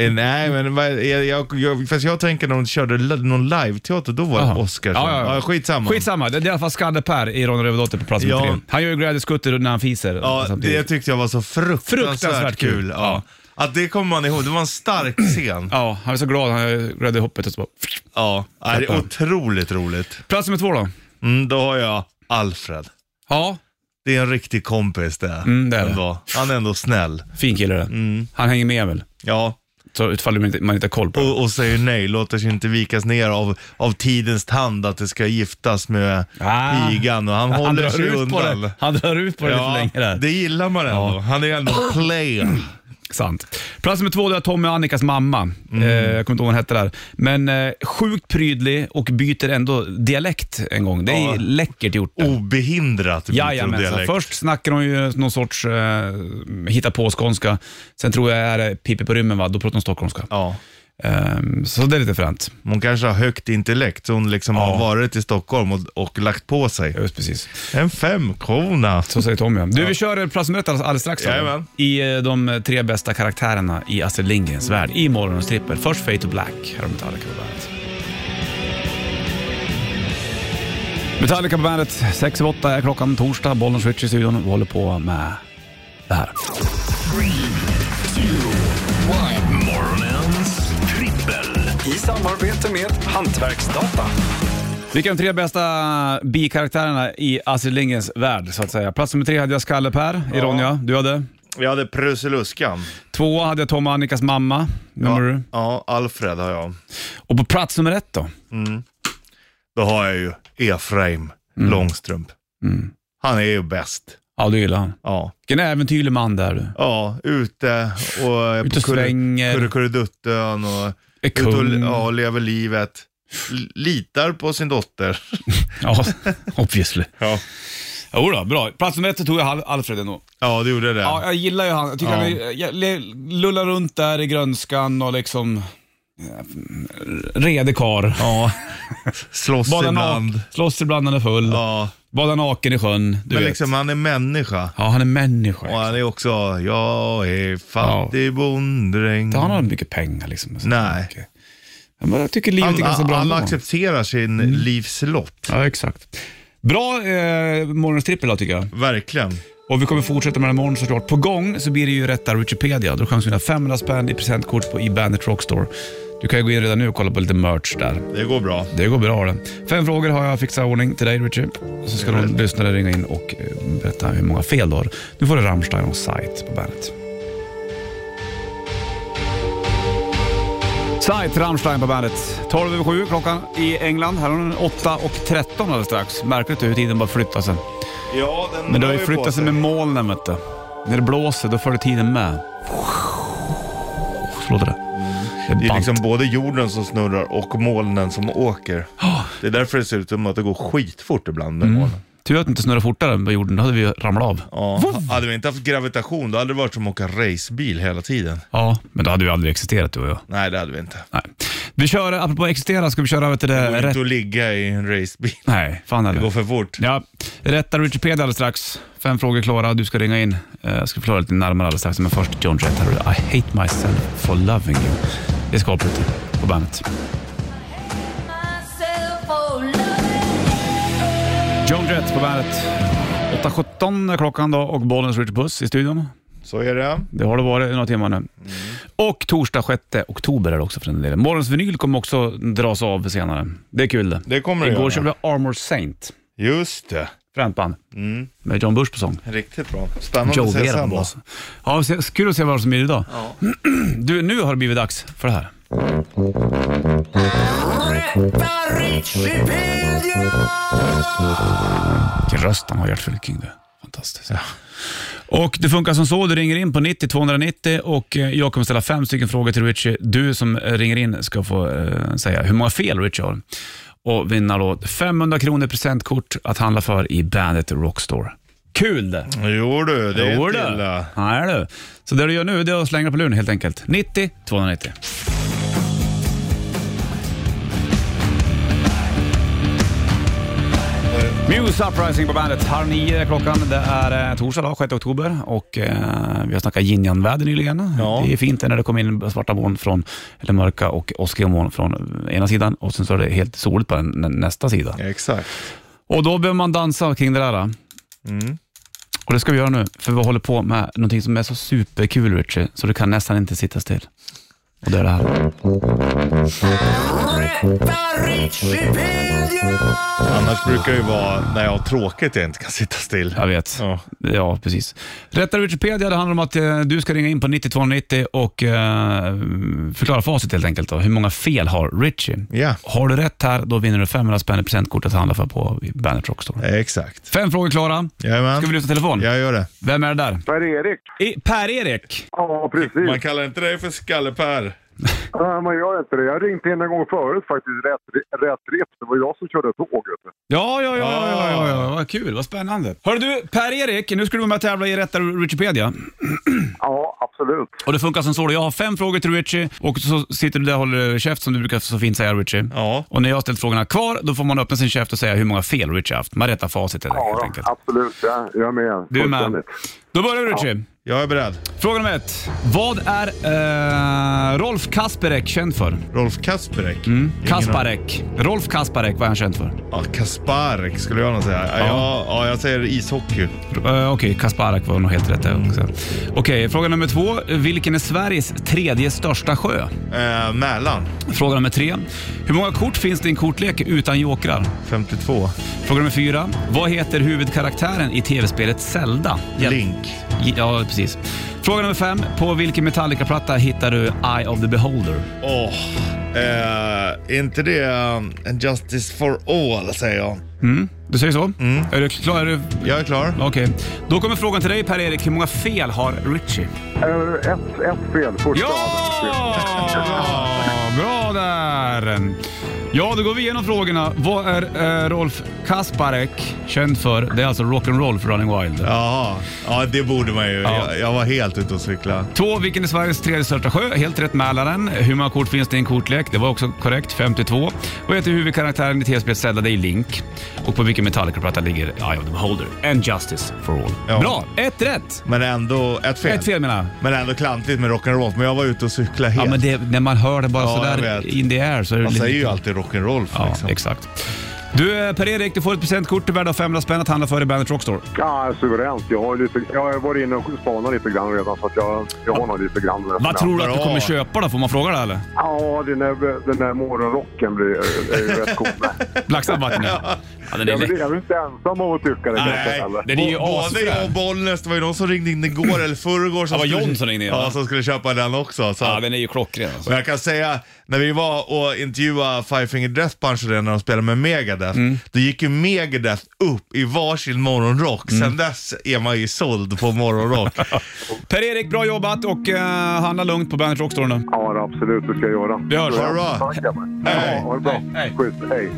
[SPEAKER 3] Eh, nej, men vad- jag, jag, jag, fast jag tänker när de körde li- någon live-teater, då var det
[SPEAKER 2] Aha.
[SPEAKER 3] Oskarsson.
[SPEAKER 2] Ja, ja, ja.
[SPEAKER 3] skitsamma.
[SPEAKER 2] Skitsamma, det är i alla fall Skalle-Per i Ronny Rövardotter på plats nummer
[SPEAKER 3] Ja.
[SPEAKER 2] tre. Han gör ju glädjeskutter när han fiser.
[SPEAKER 3] Ja,
[SPEAKER 2] samtidigt.
[SPEAKER 3] det tyckte jag var så fruktansvärt,
[SPEAKER 2] Alltså, Fruktansvärt
[SPEAKER 3] kul.
[SPEAKER 2] kul.
[SPEAKER 3] Ja. Att det kommer man ihåg, det var en stark scen.
[SPEAKER 2] ja, han är så glad, han gör i hoppet och så bara...
[SPEAKER 3] Ja. Nej, det är otroligt roligt.
[SPEAKER 2] Plats nummer två då?
[SPEAKER 3] Mm, då har jag Alfred.
[SPEAKER 2] Ja,
[SPEAKER 3] Det är en riktig kompis det.
[SPEAKER 2] Mm, det är det.
[SPEAKER 3] Ändå. Han är ändå snäll.
[SPEAKER 2] fin kille det.
[SPEAKER 3] Mm.
[SPEAKER 2] Han hänger med väl?
[SPEAKER 3] Ja,
[SPEAKER 2] Så utfaller man inte, man inte har koll på det.
[SPEAKER 3] och, och säger nej, låter sig inte vikas ner av, av tidens tand att det ska giftas med
[SPEAKER 2] Ah.
[SPEAKER 3] pigan och han, håller sig
[SPEAKER 2] ut på
[SPEAKER 3] undan.
[SPEAKER 2] det. Han drar ut på det
[SPEAKER 3] Ja,
[SPEAKER 2] lite längre där.
[SPEAKER 3] det gillar man ändå. Han är ändå player.
[SPEAKER 2] Sant. Plats nummer två, det är Tommy och Annikas mamma.
[SPEAKER 3] Mm.
[SPEAKER 2] Eh, jag kommer inte ihåg vad hon hette där. Men eh, sjukt prydlig och byter ändå dialekt en gång. Det är
[SPEAKER 3] Ja.
[SPEAKER 2] läckert gjort. det.
[SPEAKER 3] Obehindrat
[SPEAKER 2] Jajamensan.
[SPEAKER 3] dialekt.
[SPEAKER 2] Först snackar hon ju någon sorts eh, hitta på skånska Sen tror jag är det Pippi på rymmen, va? då pratar hon stockholmska.
[SPEAKER 3] Ja.
[SPEAKER 2] Ehm, så det är lite fränt.
[SPEAKER 3] Hon kanske har högt intellekt, så hon liksom
[SPEAKER 2] Ja.
[SPEAKER 3] har varit i Stockholm och, och lagt på sig.
[SPEAKER 2] Just precis.
[SPEAKER 3] En femkrona.
[SPEAKER 2] Så säger Tommy. Du, vi kör plats nummer ett alldeles alldeles strax. då.
[SPEAKER 3] Jajamän.
[SPEAKER 2] I eh, de tre bästa karaktärerna i Astrid Lindgrens värld. I morgonens trippel. Först Fate to Black. Här har Metallica på bandet. Metallica på bandet. Sex över åtta är klockan. Torsdag. Bollen switch i studion. Vi håller på med det här.
[SPEAKER 1] Morgonens trippel.
[SPEAKER 7] I samarbete med Hantverksdata.
[SPEAKER 2] Vilka är de tre bästa bikaraktärerna i Astrid Lindgrens värld, så att säga? Plats nummer tre hade jag Skalle-Per i Ronja. Du hade?
[SPEAKER 3] Jag hade Prussiluskan.
[SPEAKER 2] Tvåa hade jag Tom och Annikas mamma.
[SPEAKER 3] Ja,
[SPEAKER 2] Nummer du?
[SPEAKER 3] ja, Alfred har jag.
[SPEAKER 2] Och på plats nummer ett då? Mm.
[SPEAKER 3] Då har jag ju Efraim Långstrump. Han är ju bäst.
[SPEAKER 2] Ja, du gillar han.
[SPEAKER 3] Ja,
[SPEAKER 2] Vilken äventyrlig man där du.
[SPEAKER 3] ja ute och
[SPEAKER 2] Ute och svänger.
[SPEAKER 3] kurrekurreduttön och,
[SPEAKER 2] Är
[SPEAKER 3] ut och,
[SPEAKER 2] kung.
[SPEAKER 3] ja, och lever livet. L- Litar på sin dotter.
[SPEAKER 2] Ja, obviously.
[SPEAKER 3] Ja,
[SPEAKER 2] Jo då, bra. Plats nummer ett tog jag Hal- Alfred ändå.
[SPEAKER 3] ja det gjorde det.
[SPEAKER 2] Ja, jag gillar ju han. Jag tycker
[SPEAKER 3] Ja.
[SPEAKER 2] han är- jag le- lullar runt där i grönskan och liksom... eh, Redig karl.
[SPEAKER 3] Ja. Slåss
[SPEAKER 2] Badar
[SPEAKER 3] ibland.
[SPEAKER 2] naken, slåss ibland när han är full.
[SPEAKER 3] Ja.
[SPEAKER 2] Badar naken i sjön, du
[SPEAKER 3] Men
[SPEAKER 2] vet.
[SPEAKER 3] liksom, han är människa.
[SPEAKER 2] Ja, han är människa.
[SPEAKER 3] Och han är också, jag är fattig bonddräng.
[SPEAKER 2] Inte han har mycket pengar liksom. Så
[SPEAKER 3] Nej.
[SPEAKER 2] mycket. Ja, Men jag tycker livet är ganska
[SPEAKER 3] Han,
[SPEAKER 2] bra
[SPEAKER 3] han
[SPEAKER 2] ändå. Mm.
[SPEAKER 3] accepterar sin livs lott.
[SPEAKER 2] Ja, exakt. Bra eh, morgonstrippel då tycker jag.
[SPEAKER 3] Verkligen.
[SPEAKER 2] Och vi kommer fortsätta med den imorgon såklart. På gång så blir det ju rätta Wikipedia. Då kan du vinna 500 spänn i presentkort på e-bandet Rockstore. Du kan ju gå in redan nu och kolla på lite merch där.
[SPEAKER 3] Det går bra.
[SPEAKER 2] Det går bra det. Fem frågor har jag fixat i ordning till dig Richie. Och så ska någon lyssnare ringa in och eh, berätta hur många fel du har. Nu får du Rammstein och Sight på bandet. Sight, Rammstein på bandet. 12 över 7 klockan i England. Här har den 8 och 13 alldeles strax. Märkligt hur tiden bara flyttar sig.
[SPEAKER 3] Ja, den
[SPEAKER 2] Men det har ju flyttat sig med molnen vet du. När det blåser då följer tiden med. Så låter det. Det är,
[SPEAKER 3] Det är
[SPEAKER 2] ballt.
[SPEAKER 3] liksom både jorden som snurrar och molnen som åker.
[SPEAKER 2] Ah.
[SPEAKER 3] Det är därför det ser ut som att det går skitfort ibland
[SPEAKER 2] Mm.
[SPEAKER 3] med molnen.
[SPEAKER 2] Tur att det inte snurrar fortare på jorden, då hade vi ju ramlat av.
[SPEAKER 3] Ja. Hade vi inte haft gravitation då hade det varit som att åka racebil hela tiden.
[SPEAKER 2] Ja, men då hade vi aldrig existerat du och jag.
[SPEAKER 3] Nej, det hade vi inte.
[SPEAKER 2] Nej. Vi kör, apropå existera, ska vi köra över till det,
[SPEAKER 3] Det går
[SPEAKER 2] Äh, rätt...
[SPEAKER 3] inte att ligga i en racebil.
[SPEAKER 2] Nej, fan
[SPEAKER 3] Det
[SPEAKER 2] heller.
[SPEAKER 3] går för fort.
[SPEAKER 2] Ja, rätta Wikipedia alldeles strax. Fem frågor klara, du ska ringa in. Eh, Jag ska förklara lite närmare alldeles strax, men först John Jett. här har du I hate myself for loving you. Det är skapligt på bandet. John Jett på bandet. 8.17 är klockan då och Bollens Richard Puss i studion.
[SPEAKER 3] Så är det.
[SPEAKER 2] Det har det varit i några timmar
[SPEAKER 3] Mm.
[SPEAKER 2] nu. Och torsdag 6 oktober är det också för den delen. Morgons vinyl kommer också dras av senare. Det är kul det.
[SPEAKER 3] Det kommer det
[SPEAKER 2] Igår
[SPEAKER 3] göra.
[SPEAKER 2] körde vi Armor Saint,
[SPEAKER 3] Just det.
[SPEAKER 2] fränt band,
[SPEAKER 3] Mm.
[SPEAKER 2] med John Bush på sång.
[SPEAKER 3] Riktigt bra. Spännande
[SPEAKER 2] Joe
[SPEAKER 3] att se
[SPEAKER 2] Vera på
[SPEAKER 3] sen då.
[SPEAKER 2] bas. Ja, vi ser- kul att se vad som är idag. Du, nu har det blivit dags för det här. Vilken röst han har, Gert Fylking. du. Fantastiskt. Och det funkar som så, du ringer in på 90 290 och eh, jag kommer ställa fem stycken frågor till Richie. Du som eh, ringer in ska få eh, säga hur många fel Richie har och vinna då 500 kronor presentkort att handla för i bandet Rockstore. Kul det!
[SPEAKER 3] Jo du, det är äh,
[SPEAKER 2] Jo
[SPEAKER 3] inte
[SPEAKER 2] du.
[SPEAKER 3] illa.
[SPEAKER 2] Nej du. Så det du gör nu det är att slänga på luren helt enkelt. 90 290. Muse Uprising på bandet. Halv nio är klockan. Det är eh, torsdag dag, 6 oktober och eh, vi har snackat yin-yang-väder nyligen.
[SPEAKER 3] Ja.
[SPEAKER 2] Det är fint när det kommer in svarta moln från, eller mörka och åskiga moln från ena sidan och sen så är det helt soligt på den, nä- nästa sida.
[SPEAKER 3] Exakt.
[SPEAKER 2] Och då behöver man dansa kring det där. då.
[SPEAKER 3] Mm.
[SPEAKER 2] Och det ska vi göra nu, för vi håller på med någonting som är så superkul Richie, så du kan nästan inte sitta still. Och det är det här.
[SPEAKER 3] Annars brukar det ju vara när jag har tråkigt jag inte kan sitta still.
[SPEAKER 2] Jag vet. Ja,
[SPEAKER 3] Ja.
[SPEAKER 2] precis. Rätta Wikipedia, det handlar om att eh, du ska ringa in på 9290 och eh, förklara facit helt enkelt. Då. Hur många fel har Richie?
[SPEAKER 3] Ja.
[SPEAKER 2] Har du rätt här, då vinner du 500 spänn i presentkort att handla för på Bandet Rockstore.
[SPEAKER 3] Exakt.
[SPEAKER 2] Fem frågor klara.
[SPEAKER 3] Jajamän.
[SPEAKER 2] Ska vi lyfta telefon?
[SPEAKER 3] Jag gör det.
[SPEAKER 2] Vem är det där?
[SPEAKER 5] Per-Erik.
[SPEAKER 2] I- Per-Erik.
[SPEAKER 5] Ja, precis.
[SPEAKER 3] Man kallar inte dig för skalle-Per.
[SPEAKER 5] Nej, man gör inte det. Jag ringde in en gång förut faktiskt, rätt, rätt rep. Det var jag som körde tåget.
[SPEAKER 2] Ja, ja, ja, ja, ja, ja, ja, vad kul, vad spännande. Hörru du, Per-Erik, nu ska du vara med och tävla i Rätta Wikipedia.
[SPEAKER 5] Ja, absolut.
[SPEAKER 2] Och det funkar som så, då. jag har fem frågor till Richie och så sitter du där och håller käft som du brukar så fint säga Richie.
[SPEAKER 3] Ja.
[SPEAKER 2] Och när jag har ställt frågorna kvar, då får man öppna sin käft och säga hur många fel Richie haft. Man rättar facit helt
[SPEAKER 5] Ja,
[SPEAKER 2] enkelt.
[SPEAKER 5] absolut. Ja, jag är med.
[SPEAKER 2] Du är med.
[SPEAKER 5] Fullständigt.
[SPEAKER 2] Då börjar vi Richie.
[SPEAKER 3] Jag är beredd.
[SPEAKER 2] Fråga nummer ett. Vad är eh, Rolf Kasperek känd för?
[SPEAKER 3] Rolf Kasperek. Mm.
[SPEAKER 2] Kasparek. Rolf Kasparek, vad är han känd för?
[SPEAKER 3] Ja, Kasparek skulle jag nog säga. Ja. Ja, ja, jag säger ishockey.
[SPEAKER 2] Eh, Okej, Kasparek var nog helt rätt där också. Okej, fråga nummer två. Vilken är Sveriges tredje största sjö?
[SPEAKER 3] Eh, Mälaren.
[SPEAKER 2] Fråga nummer tre. Hur många kort finns det i en kortlek utan jokrar?
[SPEAKER 3] 52.
[SPEAKER 2] Fråga nummer fyra. Vad heter huvudkaraktären i tv-spelet Zelda? Hjäl-
[SPEAKER 3] Link.
[SPEAKER 2] J- Ja, precis. Fråga nummer fem. På vilken Metallica-platta hittar du Eye of the Beholder?
[SPEAKER 3] Åh, Eh, inte det um, en justice for all, säger jag.
[SPEAKER 2] Mm, Du säger så? Är du klar? Är du...
[SPEAKER 3] Jag är klar.
[SPEAKER 2] Okej. Då kommer frågan till dig Per-Erik. Hur många fel har Richie?
[SPEAKER 5] Eh, Ett, ett fel. Första
[SPEAKER 2] Ja! Bra där! Ja, då går vi igenom frågorna. Vad är eh, Rolf Kasparek känd för? Det är alltså rock'n'roll för Running Wild.
[SPEAKER 3] Jaha, ja det borde man ju.
[SPEAKER 2] Ja.
[SPEAKER 3] Jag, jag var helt ute och cykla.
[SPEAKER 2] Två, vilken är Sveriges tredje största sjö? Helt rätt Mälaren. Hur många kort finns det i en kortlek? Det var också korrekt, 52. Vad heter huvudkaraktären i tv-spelet Zelda? Det är Link. Och på vilken Metallica-platta ligger Eye of the Beholder? And Justice for All.
[SPEAKER 3] Ja.
[SPEAKER 2] Bra! Ett rätt!
[SPEAKER 3] Men ändå, ett fel.
[SPEAKER 2] Ett fel menar jag.
[SPEAKER 3] Men ändå klantigt med rock'n'roll. Men jag var ute och cykla helt.
[SPEAKER 2] Ja, men det, när man hör det bara
[SPEAKER 3] Ja, jag
[SPEAKER 2] sådär
[SPEAKER 3] vet.
[SPEAKER 2] in the air så är det
[SPEAKER 3] man
[SPEAKER 2] lite-
[SPEAKER 3] säger ju alltid rock'n'roll.
[SPEAKER 2] Ja,
[SPEAKER 3] liksom.
[SPEAKER 2] exakt. Du eh, Per-Erik, du får ett presentkort till värde av 500 spänn att handla för i Bandet Rockstore.
[SPEAKER 5] Ja, suveränt. Jag har, lite, jag har varit inne och spanat lite grann redan så att jag, jag har nog lite grann.
[SPEAKER 2] Vad tror du att du
[SPEAKER 3] bra.
[SPEAKER 2] kommer köpa då? Får man fråga det eller?
[SPEAKER 5] Ja, den där, den där morgonrocken blir, är ju rätt cool.
[SPEAKER 2] Black Sabbath? nu. ja, den är
[SPEAKER 5] Jag är
[SPEAKER 2] läcker.
[SPEAKER 5] väl- jag är väl inte ensam om att tycka det kanske.
[SPEAKER 3] Nej,
[SPEAKER 5] eller?
[SPEAKER 2] det är ju
[SPEAKER 3] bo- både
[SPEAKER 2] asfränt.
[SPEAKER 3] jag och Bollnäs, det var ju någon som ringde in igår eller förrgår. som
[SPEAKER 2] Ja, var
[SPEAKER 3] skulle-
[SPEAKER 2] John som ringde in, va?
[SPEAKER 3] Ja, som skulle köpa den också. Så.
[SPEAKER 2] Ja, den är ju klockren alltså.
[SPEAKER 3] Och jag kan säga, när vi var och intervjuade Five Finger Death Punch och det, när de spelade med Megadeth,
[SPEAKER 2] Mm.
[SPEAKER 3] då gick ju Megadeth upp i varsin morgonrock.
[SPEAKER 2] Mm.
[SPEAKER 3] Sen dess är man ju såld på morgonrock.
[SPEAKER 2] Per-Erik, bra jobbat och uh, handla lugnt på Bandet Rockstore nu.
[SPEAKER 5] Ja, absolut. Det ska jag göra.
[SPEAKER 2] Vi hörs.
[SPEAKER 3] Ha det bra.
[SPEAKER 5] Tack, grabbar.
[SPEAKER 3] Hej.
[SPEAKER 5] Ja, Ha det bra.
[SPEAKER 2] Hej.
[SPEAKER 5] Schysst. Hej.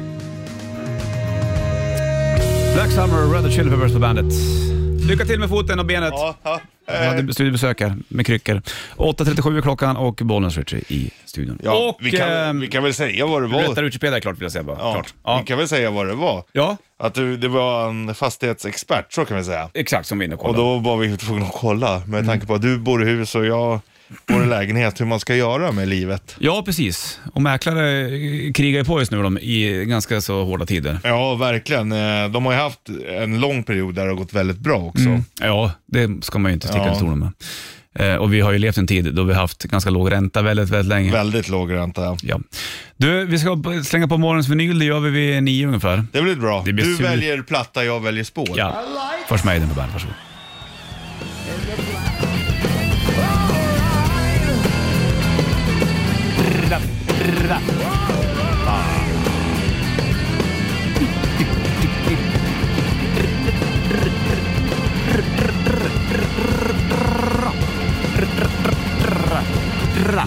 [SPEAKER 2] Black Summer, Red Hot Chili Peppers på Bandet. Lycka till med foten och benet.
[SPEAKER 3] Ja, ja.
[SPEAKER 2] Jag hade studiebesök här med kryckor. 8.37 är klockan och Bollnäs Ritchie i studion.
[SPEAKER 3] Ja,
[SPEAKER 2] och... ehm,
[SPEAKER 3] vi, kan, vi kan väl säga vad det var.
[SPEAKER 2] Rättare utspelare klart vill jag säga bara.
[SPEAKER 3] Ja,
[SPEAKER 2] Klart. Ja.
[SPEAKER 3] Vi kan väl säga vad det var.
[SPEAKER 2] ja,
[SPEAKER 3] Att du, det var en fastighetsexpert, så kan vi säga.
[SPEAKER 2] exakt som vi är inne och
[SPEAKER 3] Och
[SPEAKER 2] kollar.
[SPEAKER 3] då var vi tvungna att kolla med tanke på att du bor i hus och jag bor i lägenhet, hur man ska göra med livet.
[SPEAKER 2] Ja, precis. Och mäklare eh, krigar ju på just nu de, i ganska så hårda tider.
[SPEAKER 3] Ja, verkligen. Eh, De har ju haft en lång period där det har gått väldigt bra också.
[SPEAKER 2] Ja, det ska man ju inte sticka
[SPEAKER 3] Ja.
[SPEAKER 2] under stolen med. Eh, och vi har ju levt en tid då vi har haft ganska låg ränta väldigt, väldigt länge.
[SPEAKER 3] Väldigt låg ränta.
[SPEAKER 2] Ja. Du, vi ska b- slänga på morgonens vinyl. Det gör vi vid nio ungefär.
[SPEAKER 3] Det blir bra.
[SPEAKER 2] Det blir
[SPEAKER 3] du
[SPEAKER 2] sur-
[SPEAKER 3] väljer platta, jag väljer spår.
[SPEAKER 2] Ja. Först Maiden på bandet, varsågod.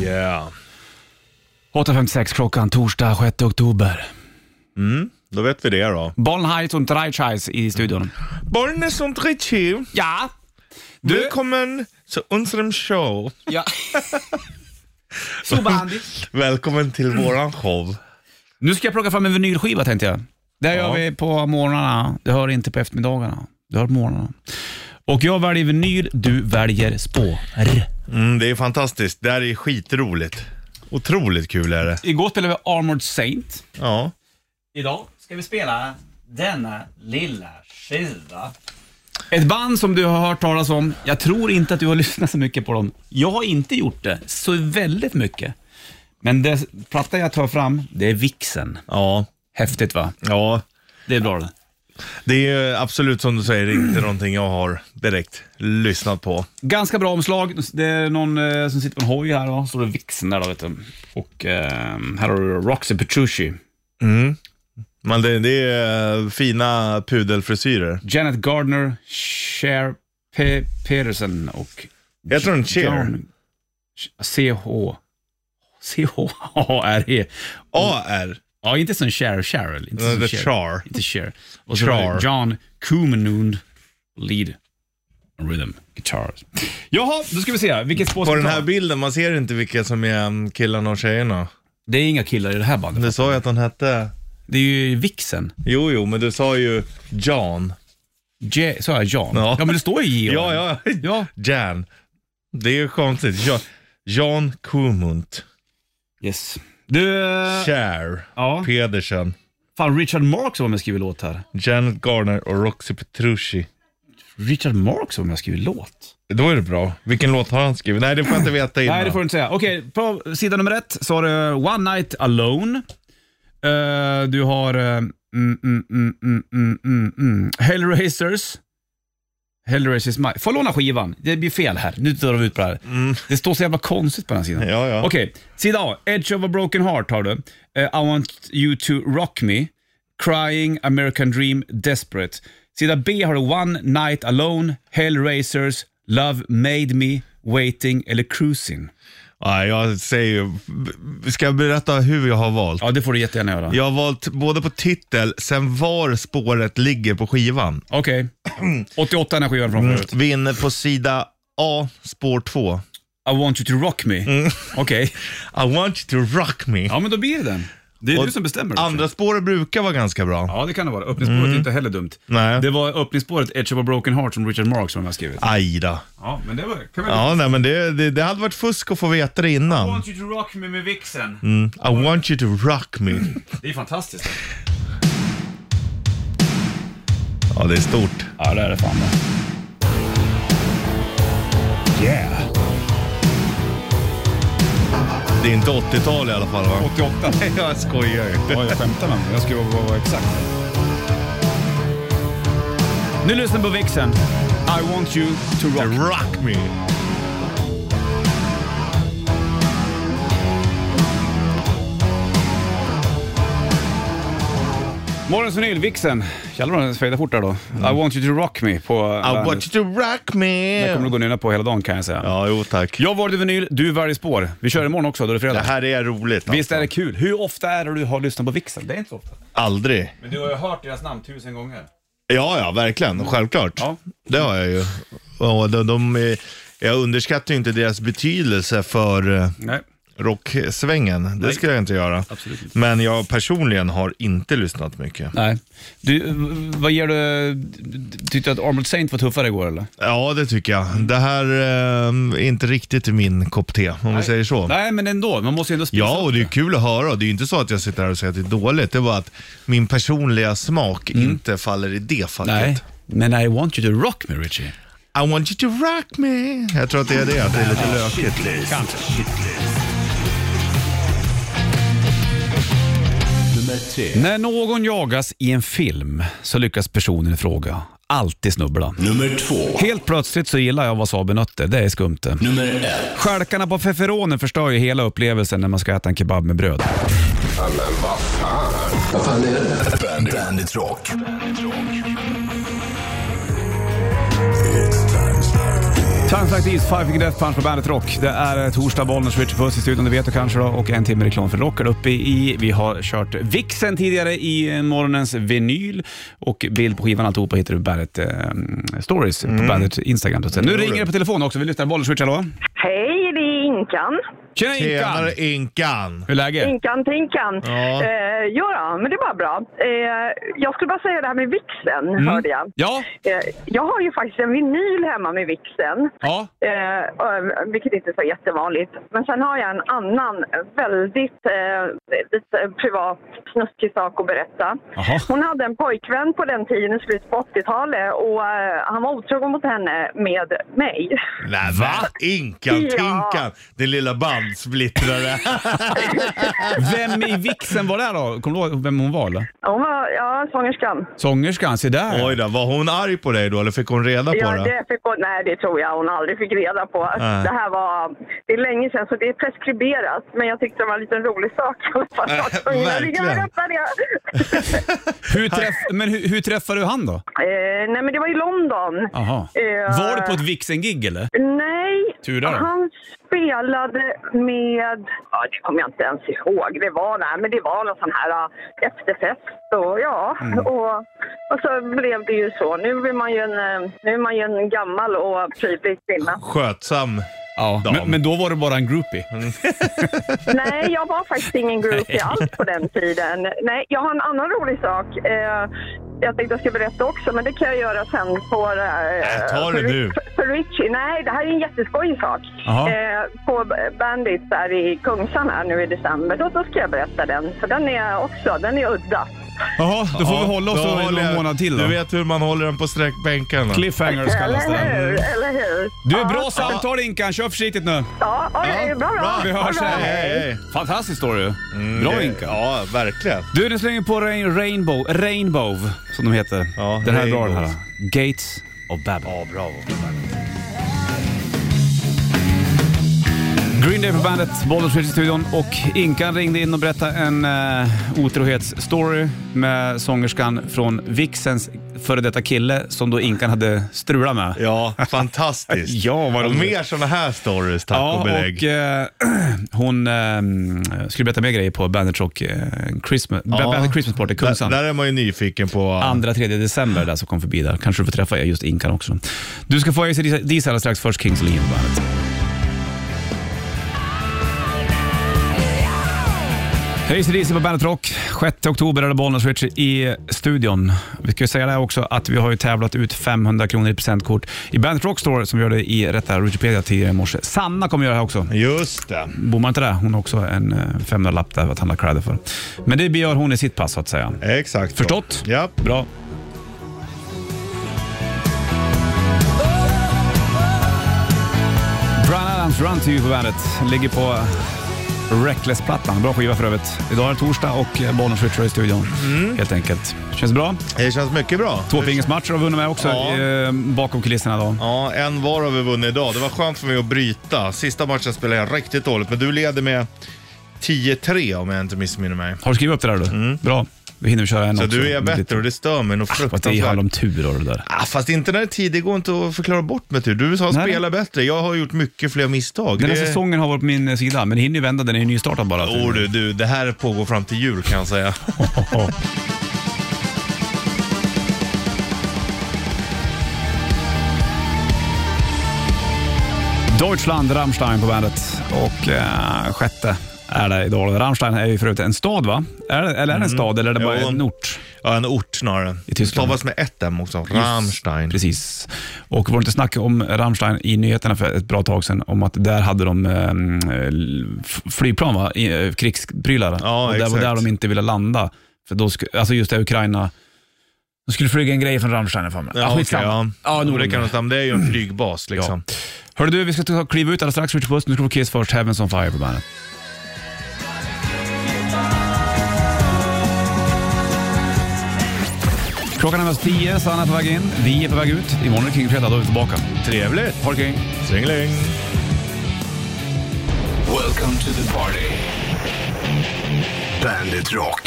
[SPEAKER 3] Yeah.
[SPEAKER 2] 8.56 klockan, torsdag 6 oktober.
[SPEAKER 3] Då vet vi det då.
[SPEAKER 2] Bonheit und Dreichais i studion.
[SPEAKER 3] Bollnäs und Ritchie,
[SPEAKER 2] Ja! Du,
[SPEAKER 3] välkommen till unserem show.
[SPEAKER 2] ja. Super Andy.
[SPEAKER 3] Välkommen till våran show.
[SPEAKER 2] Nu ska jag plocka fram en vinylskiva tänkte jag. Det här
[SPEAKER 3] Ja.
[SPEAKER 2] gör vi på morgnarna. Det hör inte på eftermiddagarna. Det hör på morgnarna. Och jag väljer vinyl, du väljer spår.
[SPEAKER 3] Mm, det är fantastiskt. Det här är skitroligt. Otroligt kul är det.
[SPEAKER 2] Igår spelade vi Armored Saint.
[SPEAKER 3] Ja.
[SPEAKER 8] Idag ska vi spela denna lilla skiva.
[SPEAKER 2] Ett band som du har hört talas om. Jag tror inte att du har lyssnat så mycket på dem. Jag har inte gjort det så väldigt mycket. Men det platta jag tar fram, det är Vixen.
[SPEAKER 3] Ja.
[SPEAKER 2] Häftigt va?
[SPEAKER 3] Ja.
[SPEAKER 2] Det är bra det.
[SPEAKER 3] Det är ju absolut som du säger inte någonting jag har direkt lyssnat på.
[SPEAKER 2] Ganska bra omslag. Det är någon eh, som sitter på en hoj här. Va? Så det är Vixen där då, vet du. Och eh, här har du Roxy Petrucci.
[SPEAKER 3] Men det, det är eh, fina pudelfrisyrer.
[SPEAKER 2] Janet Gardner, Cher Pe- Peterson och
[SPEAKER 3] Jag tror en Cher.
[SPEAKER 2] John- CH. C-H-A-R-E.
[SPEAKER 3] AR.
[SPEAKER 2] E. Ja, inte som Cher Cheryl. Inte som
[SPEAKER 3] The
[SPEAKER 2] Cher.
[SPEAKER 3] Char.
[SPEAKER 2] Inte Cher. Och så var det
[SPEAKER 3] Char.
[SPEAKER 2] John Kumenund, lead and rhythm guitars. Jaha, då ska vi se. Vilket spår
[SPEAKER 3] På
[SPEAKER 2] ska vi
[SPEAKER 3] den här
[SPEAKER 2] ta?
[SPEAKER 3] bilden, man ser inte vilka som är mm, killarna och tjejerna.
[SPEAKER 2] Det är inga killar i det här bandet.
[SPEAKER 3] Du sa ju att han hette...
[SPEAKER 2] Det är ju Vixen.
[SPEAKER 3] Jo, jo, men du sa ju Jan.
[SPEAKER 2] J- Sa jag Jan? Ja.
[SPEAKER 3] Ja.
[SPEAKER 2] men det står ju J.
[SPEAKER 3] Ja, ja.
[SPEAKER 2] Ja.
[SPEAKER 3] Jan. Det är ju konstigt. Ja, Jan Kumunt.
[SPEAKER 2] Yes. Du, eh,
[SPEAKER 3] Cher.
[SPEAKER 2] ja.
[SPEAKER 3] Pedersen.
[SPEAKER 2] Fan, Richard Marx var med och skrev låt här.
[SPEAKER 3] Janet Garner och Roxy Petrucci.
[SPEAKER 2] Richard Marx var med och skrev låt.
[SPEAKER 3] Då är det bra. Vilken låt har han skrivit? Nej, det får jag inte veta innan.
[SPEAKER 2] Nej, det får du inte säga. Okej, på sida nummer ett så har du One Night Alone. Eh, du har eh, mm, mm, mm, mm, mm, mm, mm. Hellraisers. Hellraiser is my... Får jag låna skivan? Det blir fel här. Nu drar vi ut på det här. Det står så jävla konstigt på den här sidan.
[SPEAKER 3] Mm. Ja, ja.
[SPEAKER 2] Okej, sida A. Edge of a broken heart har du. Eh, I want you to rock me. Crying, American dream, desperate. Sida B har du One night alone, Hellraisers, Love made me, Waiting eller Cruising.
[SPEAKER 3] Ja, jag säger ju, ska jag berätta hur jag har valt?
[SPEAKER 2] Ja, det får du jättegärna göra.
[SPEAKER 3] Jag har valt både på titel, sen var spåret ligger på skivan.
[SPEAKER 2] Okej. 88 är den här skivan från förut.
[SPEAKER 3] Vi är inne på sida A, spår 2.
[SPEAKER 2] I want you to rock me.
[SPEAKER 3] Mm.
[SPEAKER 2] Okej.
[SPEAKER 3] I want you to rock me.
[SPEAKER 2] Ja, men då blir det den. Det är
[SPEAKER 3] Och
[SPEAKER 2] du som bestämmer. också.
[SPEAKER 3] Andra spåret brukar vara ganska bra.
[SPEAKER 2] Ja, det kan det vara. Öppningsspåret är inte heller dumt.
[SPEAKER 3] Mm. Nej.
[SPEAKER 2] Det var öppningsspåret Edge of a broken heart som Richard Marx som har skrivit.
[SPEAKER 3] Aj då.
[SPEAKER 2] Ja, men det var... Kan väl...
[SPEAKER 3] Ja, nej, men det, det, det hade varit fusk att få veta det
[SPEAKER 2] I
[SPEAKER 3] innan.
[SPEAKER 2] want you to rock me med vixen.
[SPEAKER 3] Mm. I want you to rock me.
[SPEAKER 2] Det är fantastiskt.
[SPEAKER 3] Ja, det är stort.
[SPEAKER 2] Ja, det är det fan det. Yeah!
[SPEAKER 3] Det är inte 80-tal i alla fall va?
[SPEAKER 2] 88.
[SPEAKER 3] Jag skojar ju.
[SPEAKER 2] Ja, jag skämtar med mig. Jag ska vara, vara exakt. Nu lyssnar på vixen. I want you to rock me.
[SPEAKER 3] Rock me.
[SPEAKER 2] Morgons vinyl, vixen. Jävlar vad den fejdar fort där då. I want you to rock me på...
[SPEAKER 3] Mm. I want you to rock me.
[SPEAKER 2] Det kommer du gå och nynna på hela dagen kan jag säga.
[SPEAKER 3] Ja, jo tack.
[SPEAKER 2] Jag valde vinyl, du varje spår. Vi kör imorgon också, då är det
[SPEAKER 3] Det
[SPEAKER 2] fredag.
[SPEAKER 3] här är roligt.
[SPEAKER 2] Visst är
[SPEAKER 3] alltså.
[SPEAKER 2] det kul? Hur ofta är det du har lyssnat på Vixen? Det är inte så ofta.
[SPEAKER 3] Aldrig.
[SPEAKER 2] Men du har ju hört deras namn tusen gånger.
[SPEAKER 3] Ja, ja, verkligen. Självklart.
[SPEAKER 2] Mm. Ja.
[SPEAKER 3] Det har jag ju. Och de, de, är- jag underskattar ju inte deras betydelse för eh,
[SPEAKER 2] Nej.
[SPEAKER 3] rocksvängen. Det skulle jag inte göra.
[SPEAKER 2] Absolut inte.
[SPEAKER 3] Men jag personligen har inte lyssnat mycket.
[SPEAKER 2] Nej. Du, v- vad ger du... du Tyckte du att Armored Saint var tuffare igår eller?
[SPEAKER 3] Ja, det tycker jag.
[SPEAKER 2] Mm.
[SPEAKER 3] Det här eh, är inte riktigt min kopp te, om vi säger så.
[SPEAKER 2] Nej, men ändå. Man måste ju ändå spisa
[SPEAKER 3] Ja,
[SPEAKER 2] upp
[SPEAKER 3] och det är kul att höra. Det är ju inte så att jag sitter här och säger att det är dåligt. Det är bara att min personliga smak inte faller i det facket.
[SPEAKER 2] Mm. Nej, men I want you to rock me Richie.
[SPEAKER 3] I want you to rock me. Jag tror att det är det, att det är lite lökigt.
[SPEAKER 2] När någon jagas i en film så lyckas personen i fråga alltid snubbla.
[SPEAKER 1] Nummer två.
[SPEAKER 2] Helt plötsligt så gillar jag wasabinötter, det är skumt det.
[SPEAKER 1] Nummer ett.
[SPEAKER 2] Stjälkarna på feferonen förstör ju hela upplevelsen när man ska äta en kebab med bröd.
[SPEAKER 1] Bandit, Bandit Rock.
[SPEAKER 2] Times like these, Five Finger Death Punch på Bandet Rock. Det är eh, torsdag, Bollnäs, Richard Puss i studion, det vet du kanske då. Och en timme reklam för Rock är uppe i. Vi har kört Vixen tidigare i eh, morgonens vinyl. Och bild på skivan alltihopa hittar du på Bandet eh, Stories på Bandet Instagram. Så Nu ringer det på telefonen också. Vi lyssnar. Bollnäs, Richard, hallå?
[SPEAKER 9] Hej, det är Inkan.
[SPEAKER 2] Tjena Inkan!
[SPEAKER 3] Tjenare Inkan!
[SPEAKER 2] Hur är läget?
[SPEAKER 9] Inkan Tinkan.
[SPEAKER 3] Ja.
[SPEAKER 9] Eh, jo då, men det var bra. Eh, jag skulle bara säga det här med vixen, hörde jag.
[SPEAKER 2] Mm. Ja,
[SPEAKER 9] Eh, jag har ju faktiskt en vinyl hemma med vixen.
[SPEAKER 2] ja.
[SPEAKER 9] Eh, och- vilket inte är så jättevanligt. Men sen har jag en annan väldigt eh, lite privat snuskig sak att berätta.
[SPEAKER 2] Jaha.
[SPEAKER 9] Hon hade en pojkvän på den tiden, i slutet på 80-talet och eh, han var otrogen mot henne med mig.
[SPEAKER 3] Nej, va? Inkan
[SPEAKER 9] Ja.
[SPEAKER 3] Tinkan, din lilla bandsplittrare.
[SPEAKER 2] Vem i Vixen var det här då? Kommer du ihåg vem hon var eller?
[SPEAKER 9] Hon var, ja, sångerskan.
[SPEAKER 2] Sångerskan, se där.
[SPEAKER 3] Oj då, var hon arg på dig då eller fick hon reda på
[SPEAKER 9] Ja,
[SPEAKER 3] det?
[SPEAKER 9] det fick hon, nej, det tror jag hon aldrig fick reda på.
[SPEAKER 3] Nej.
[SPEAKER 9] Det här var... Det är länge sedan, så det är preskriberat. Men jag tyckte det var en liten rolig sak. Jag var tvungen att ringa
[SPEAKER 3] Eh, verkligen.
[SPEAKER 9] och berätta det.
[SPEAKER 2] Hur träff, men hur, hur träffade du han då?
[SPEAKER 9] eh, nej, men det var i London.
[SPEAKER 2] Jaha.
[SPEAKER 9] Eh,
[SPEAKER 2] Var du på ett Vixen-gig eller?
[SPEAKER 9] Nej,
[SPEAKER 2] Tur där.
[SPEAKER 9] han spelade med... Ja, det kommer jag inte ens ihåg. Det var, nej, men det var någon sån här ah, efterfest. Och, ja,
[SPEAKER 2] Mm.
[SPEAKER 9] och, och så blev det ju så. Nu är man ju en, eh, nu är man ju en gammal och prydlig kvinna.
[SPEAKER 3] Skötsam.
[SPEAKER 2] Ja,
[SPEAKER 3] Dam.
[SPEAKER 2] men, men då var du bara en groupie.
[SPEAKER 9] Nej, jag var faktiskt ingen groupie alls på den tiden. Nej, jag har en annan rolig sak. Eh, jag tänkte jag ska berätta också, men det kan jag göra sen. På, eh,
[SPEAKER 3] ta det
[SPEAKER 9] för,
[SPEAKER 3] nu.
[SPEAKER 9] För, för Richie. Nej, det här är en jätteskojig sak.
[SPEAKER 2] Jaha.
[SPEAKER 9] Eh, på Bandit där i Kungsan här nu i december. Då, då ska jag berätta den, för den är också den är udda.
[SPEAKER 2] Jaha, då får
[SPEAKER 3] Ja,
[SPEAKER 2] vi hålla oss
[SPEAKER 3] då
[SPEAKER 2] då i
[SPEAKER 3] håller
[SPEAKER 2] någon
[SPEAKER 3] jag-
[SPEAKER 2] månad till
[SPEAKER 3] Du
[SPEAKER 2] då.
[SPEAKER 3] vet hur man håller den på sträckbänkarna.
[SPEAKER 2] Cliffhangers kallas
[SPEAKER 9] Eller hur?
[SPEAKER 2] det.
[SPEAKER 9] Eller hur?
[SPEAKER 2] Du, bra samtal Inkan. Kör försiktigt nu.
[SPEAKER 9] Ja, oj, oj, bra, bra.
[SPEAKER 2] Vi hörs
[SPEAKER 9] Bra, bra.
[SPEAKER 2] sen.
[SPEAKER 3] Hej, hej.
[SPEAKER 2] Fantastisk story. Bra Inkan.
[SPEAKER 3] Ja, verkligen.
[SPEAKER 2] Du, nu slänger vi på Rain- Rainbow, Rainbow som de heter.
[SPEAKER 3] Ja,
[SPEAKER 2] den här är bra den
[SPEAKER 3] Rainbow.
[SPEAKER 2] här. Gates och Babben.
[SPEAKER 3] Ja, bravo.
[SPEAKER 2] Green Day på bandet, Bollnäs i studion och Inkan ringde in och berättade en eh, otrohetsstory med sångerskan från Vixens före detta kille som då Inkan hade strulat med.
[SPEAKER 3] Ja, fantastiskt.
[SPEAKER 2] Ja, vad roligt.
[SPEAKER 3] Mer sådana här stories, tack
[SPEAKER 2] Ja,
[SPEAKER 3] och belägg.
[SPEAKER 2] och eh, hon eh, skulle berätta mer grejer på Bandit Rock eh, Christmas,
[SPEAKER 3] Ja.
[SPEAKER 2] Bandit Christmas Party, eh, Kungsan.
[SPEAKER 3] Där, där är man ju nyfiken på...
[SPEAKER 2] Andra, tredje december där som kom förbi där. Kanske du får träffa just Inkan också. Du ska få AC DC alldeles strax. Först Kings Lean på bandet. Hej AC DC på Bandet Rock. 6 oktober är det Bollnäs Switch i studion. Vi ska ju säga det här också att vi har ju tävlat ut 500 kronor i presentkort i Bandet Rock Store som vi gjorde i rätta Wikipedia tidigare i morse. Sanna kommer göra det här också.
[SPEAKER 3] Just det.
[SPEAKER 2] Bommar inte det? Hon har också en eh, 500-lapp där att handla kläder för. Men det gör hon i sitt pass så att säga.
[SPEAKER 3] Exakt. så.
[SPEAKER 2] Förstått?
[SPEAKER 3] Ja.
[SPEAKER 2] Bra. Brian Adams Run to you på bandet. Ligger på Reckless-plattan. Bra skiva för övrigt. Idag är det torsdag och Bollnäs Ritcher i studion.
[SPEAKER 3] Mm.
[SPEAKER 2] Helt enkelt. Känns bra.
[SPEAKER 3] Det känns mycket bra.
[SPEAKER 2] Tvåfingersmatcher har vi vunnit med också
[SPEAKER 3] Ja.
[SPEAKER 2] eh, bakom kulisserna idag.
[SPEAKER 3] Ja, en var har vi vunnit idag. Det var skönt för mig att bryta. Sista matchen spelade jag riktigt dåligt, men du leder med 10-3 om jag inte missminner mig.
[SPEAKER 2] Har du skrivit upp det där du? Bra. Då hinner vi köra en
[SPEAKER 3] Mm. Så
[SPEAKER 2] också. Ah,
[SPEAKER 3] du är bättre och det stör mig nog
[SPEAKER 2] Vad det handlar
[SPEAKER 3] fruktansvärt.
[SPEAKER 2] om tur och det där.
[SPEAKER 3] Ah, fast inte när det är tid, det går inte att förklara bort med tur. Du har
[SPEAKER 2] Nej.
[SPEAKER 3] spelat bättre, jag har gjort mycket fler misstag.
[SPEAKER 2] Den här
[SPEAKER 3] Det-
[SPEAKER 2] säsongen har varit på min eh, sida, men det hinner ju vända. Den är ju nystartad bara.
[SPEAKER 3] Åh du, du, det här pågår fram till jul kan jag säga.
[SPEAKER 2] Deutschland, Rammstein på bandet. Och eh, sjätte är det idag. Rammstein är ju förut en stad va? Är det, eller är det en stad eller är det bara
[SPEAKER 3] Jo.
[SPEAKER 2] en ort?
[SPEAKER 3] Mm. Ja, en ort snarare.
[SPEAKER 2] I Tyskland.
[SPEAKER 3] Stavas med ett M också. Rammstein.
[SPEAKER 2] Precis. Och var det inte snack om Rammstein i nyheterna för ett bra tag sedan om att där hade de ehm, f- flygplan, va? I, eh, krigsprylar.
[SPEAKER 3] Ja,
[SPEAKER 2] och där var
[SPEAKER 3] exakt.
[SPEAKER 2] där de inte ville landa. För då sku, alltså just det, Ukraina. De skulle flyga en grej från Rammstein har jag för mig.
[SPEAKER 3] Ja, okej,
[SPEAKER 2] skitsamma.
[SPEAKER 3] ja. Mm.
[SPEAKER 2] ja, nog om
[SPEAKER 3] det
[SPEAKER 2] det.
[SPEAKER 3] kan du ta om. Det är ju en flygbas liksom.
[SPEAKER 2] Hörru du, vi ska ta, kliva ut alldeles strax. Richard Puss, nu ska vi få Kiss först. Heavens on fire på bandet. Klockan är nästan tio, Sanna är på väg in. Vi är på väg ut. Imorgon är det King-fredag, då är vi tillbaka.
[SPEAKER 3] Trevligt.
[SPEAKER 2] Ha det kring.
[SPEAKER 3] Tjingeling.
[SPEAKER 1] Welcome to the party. Bandit Rock.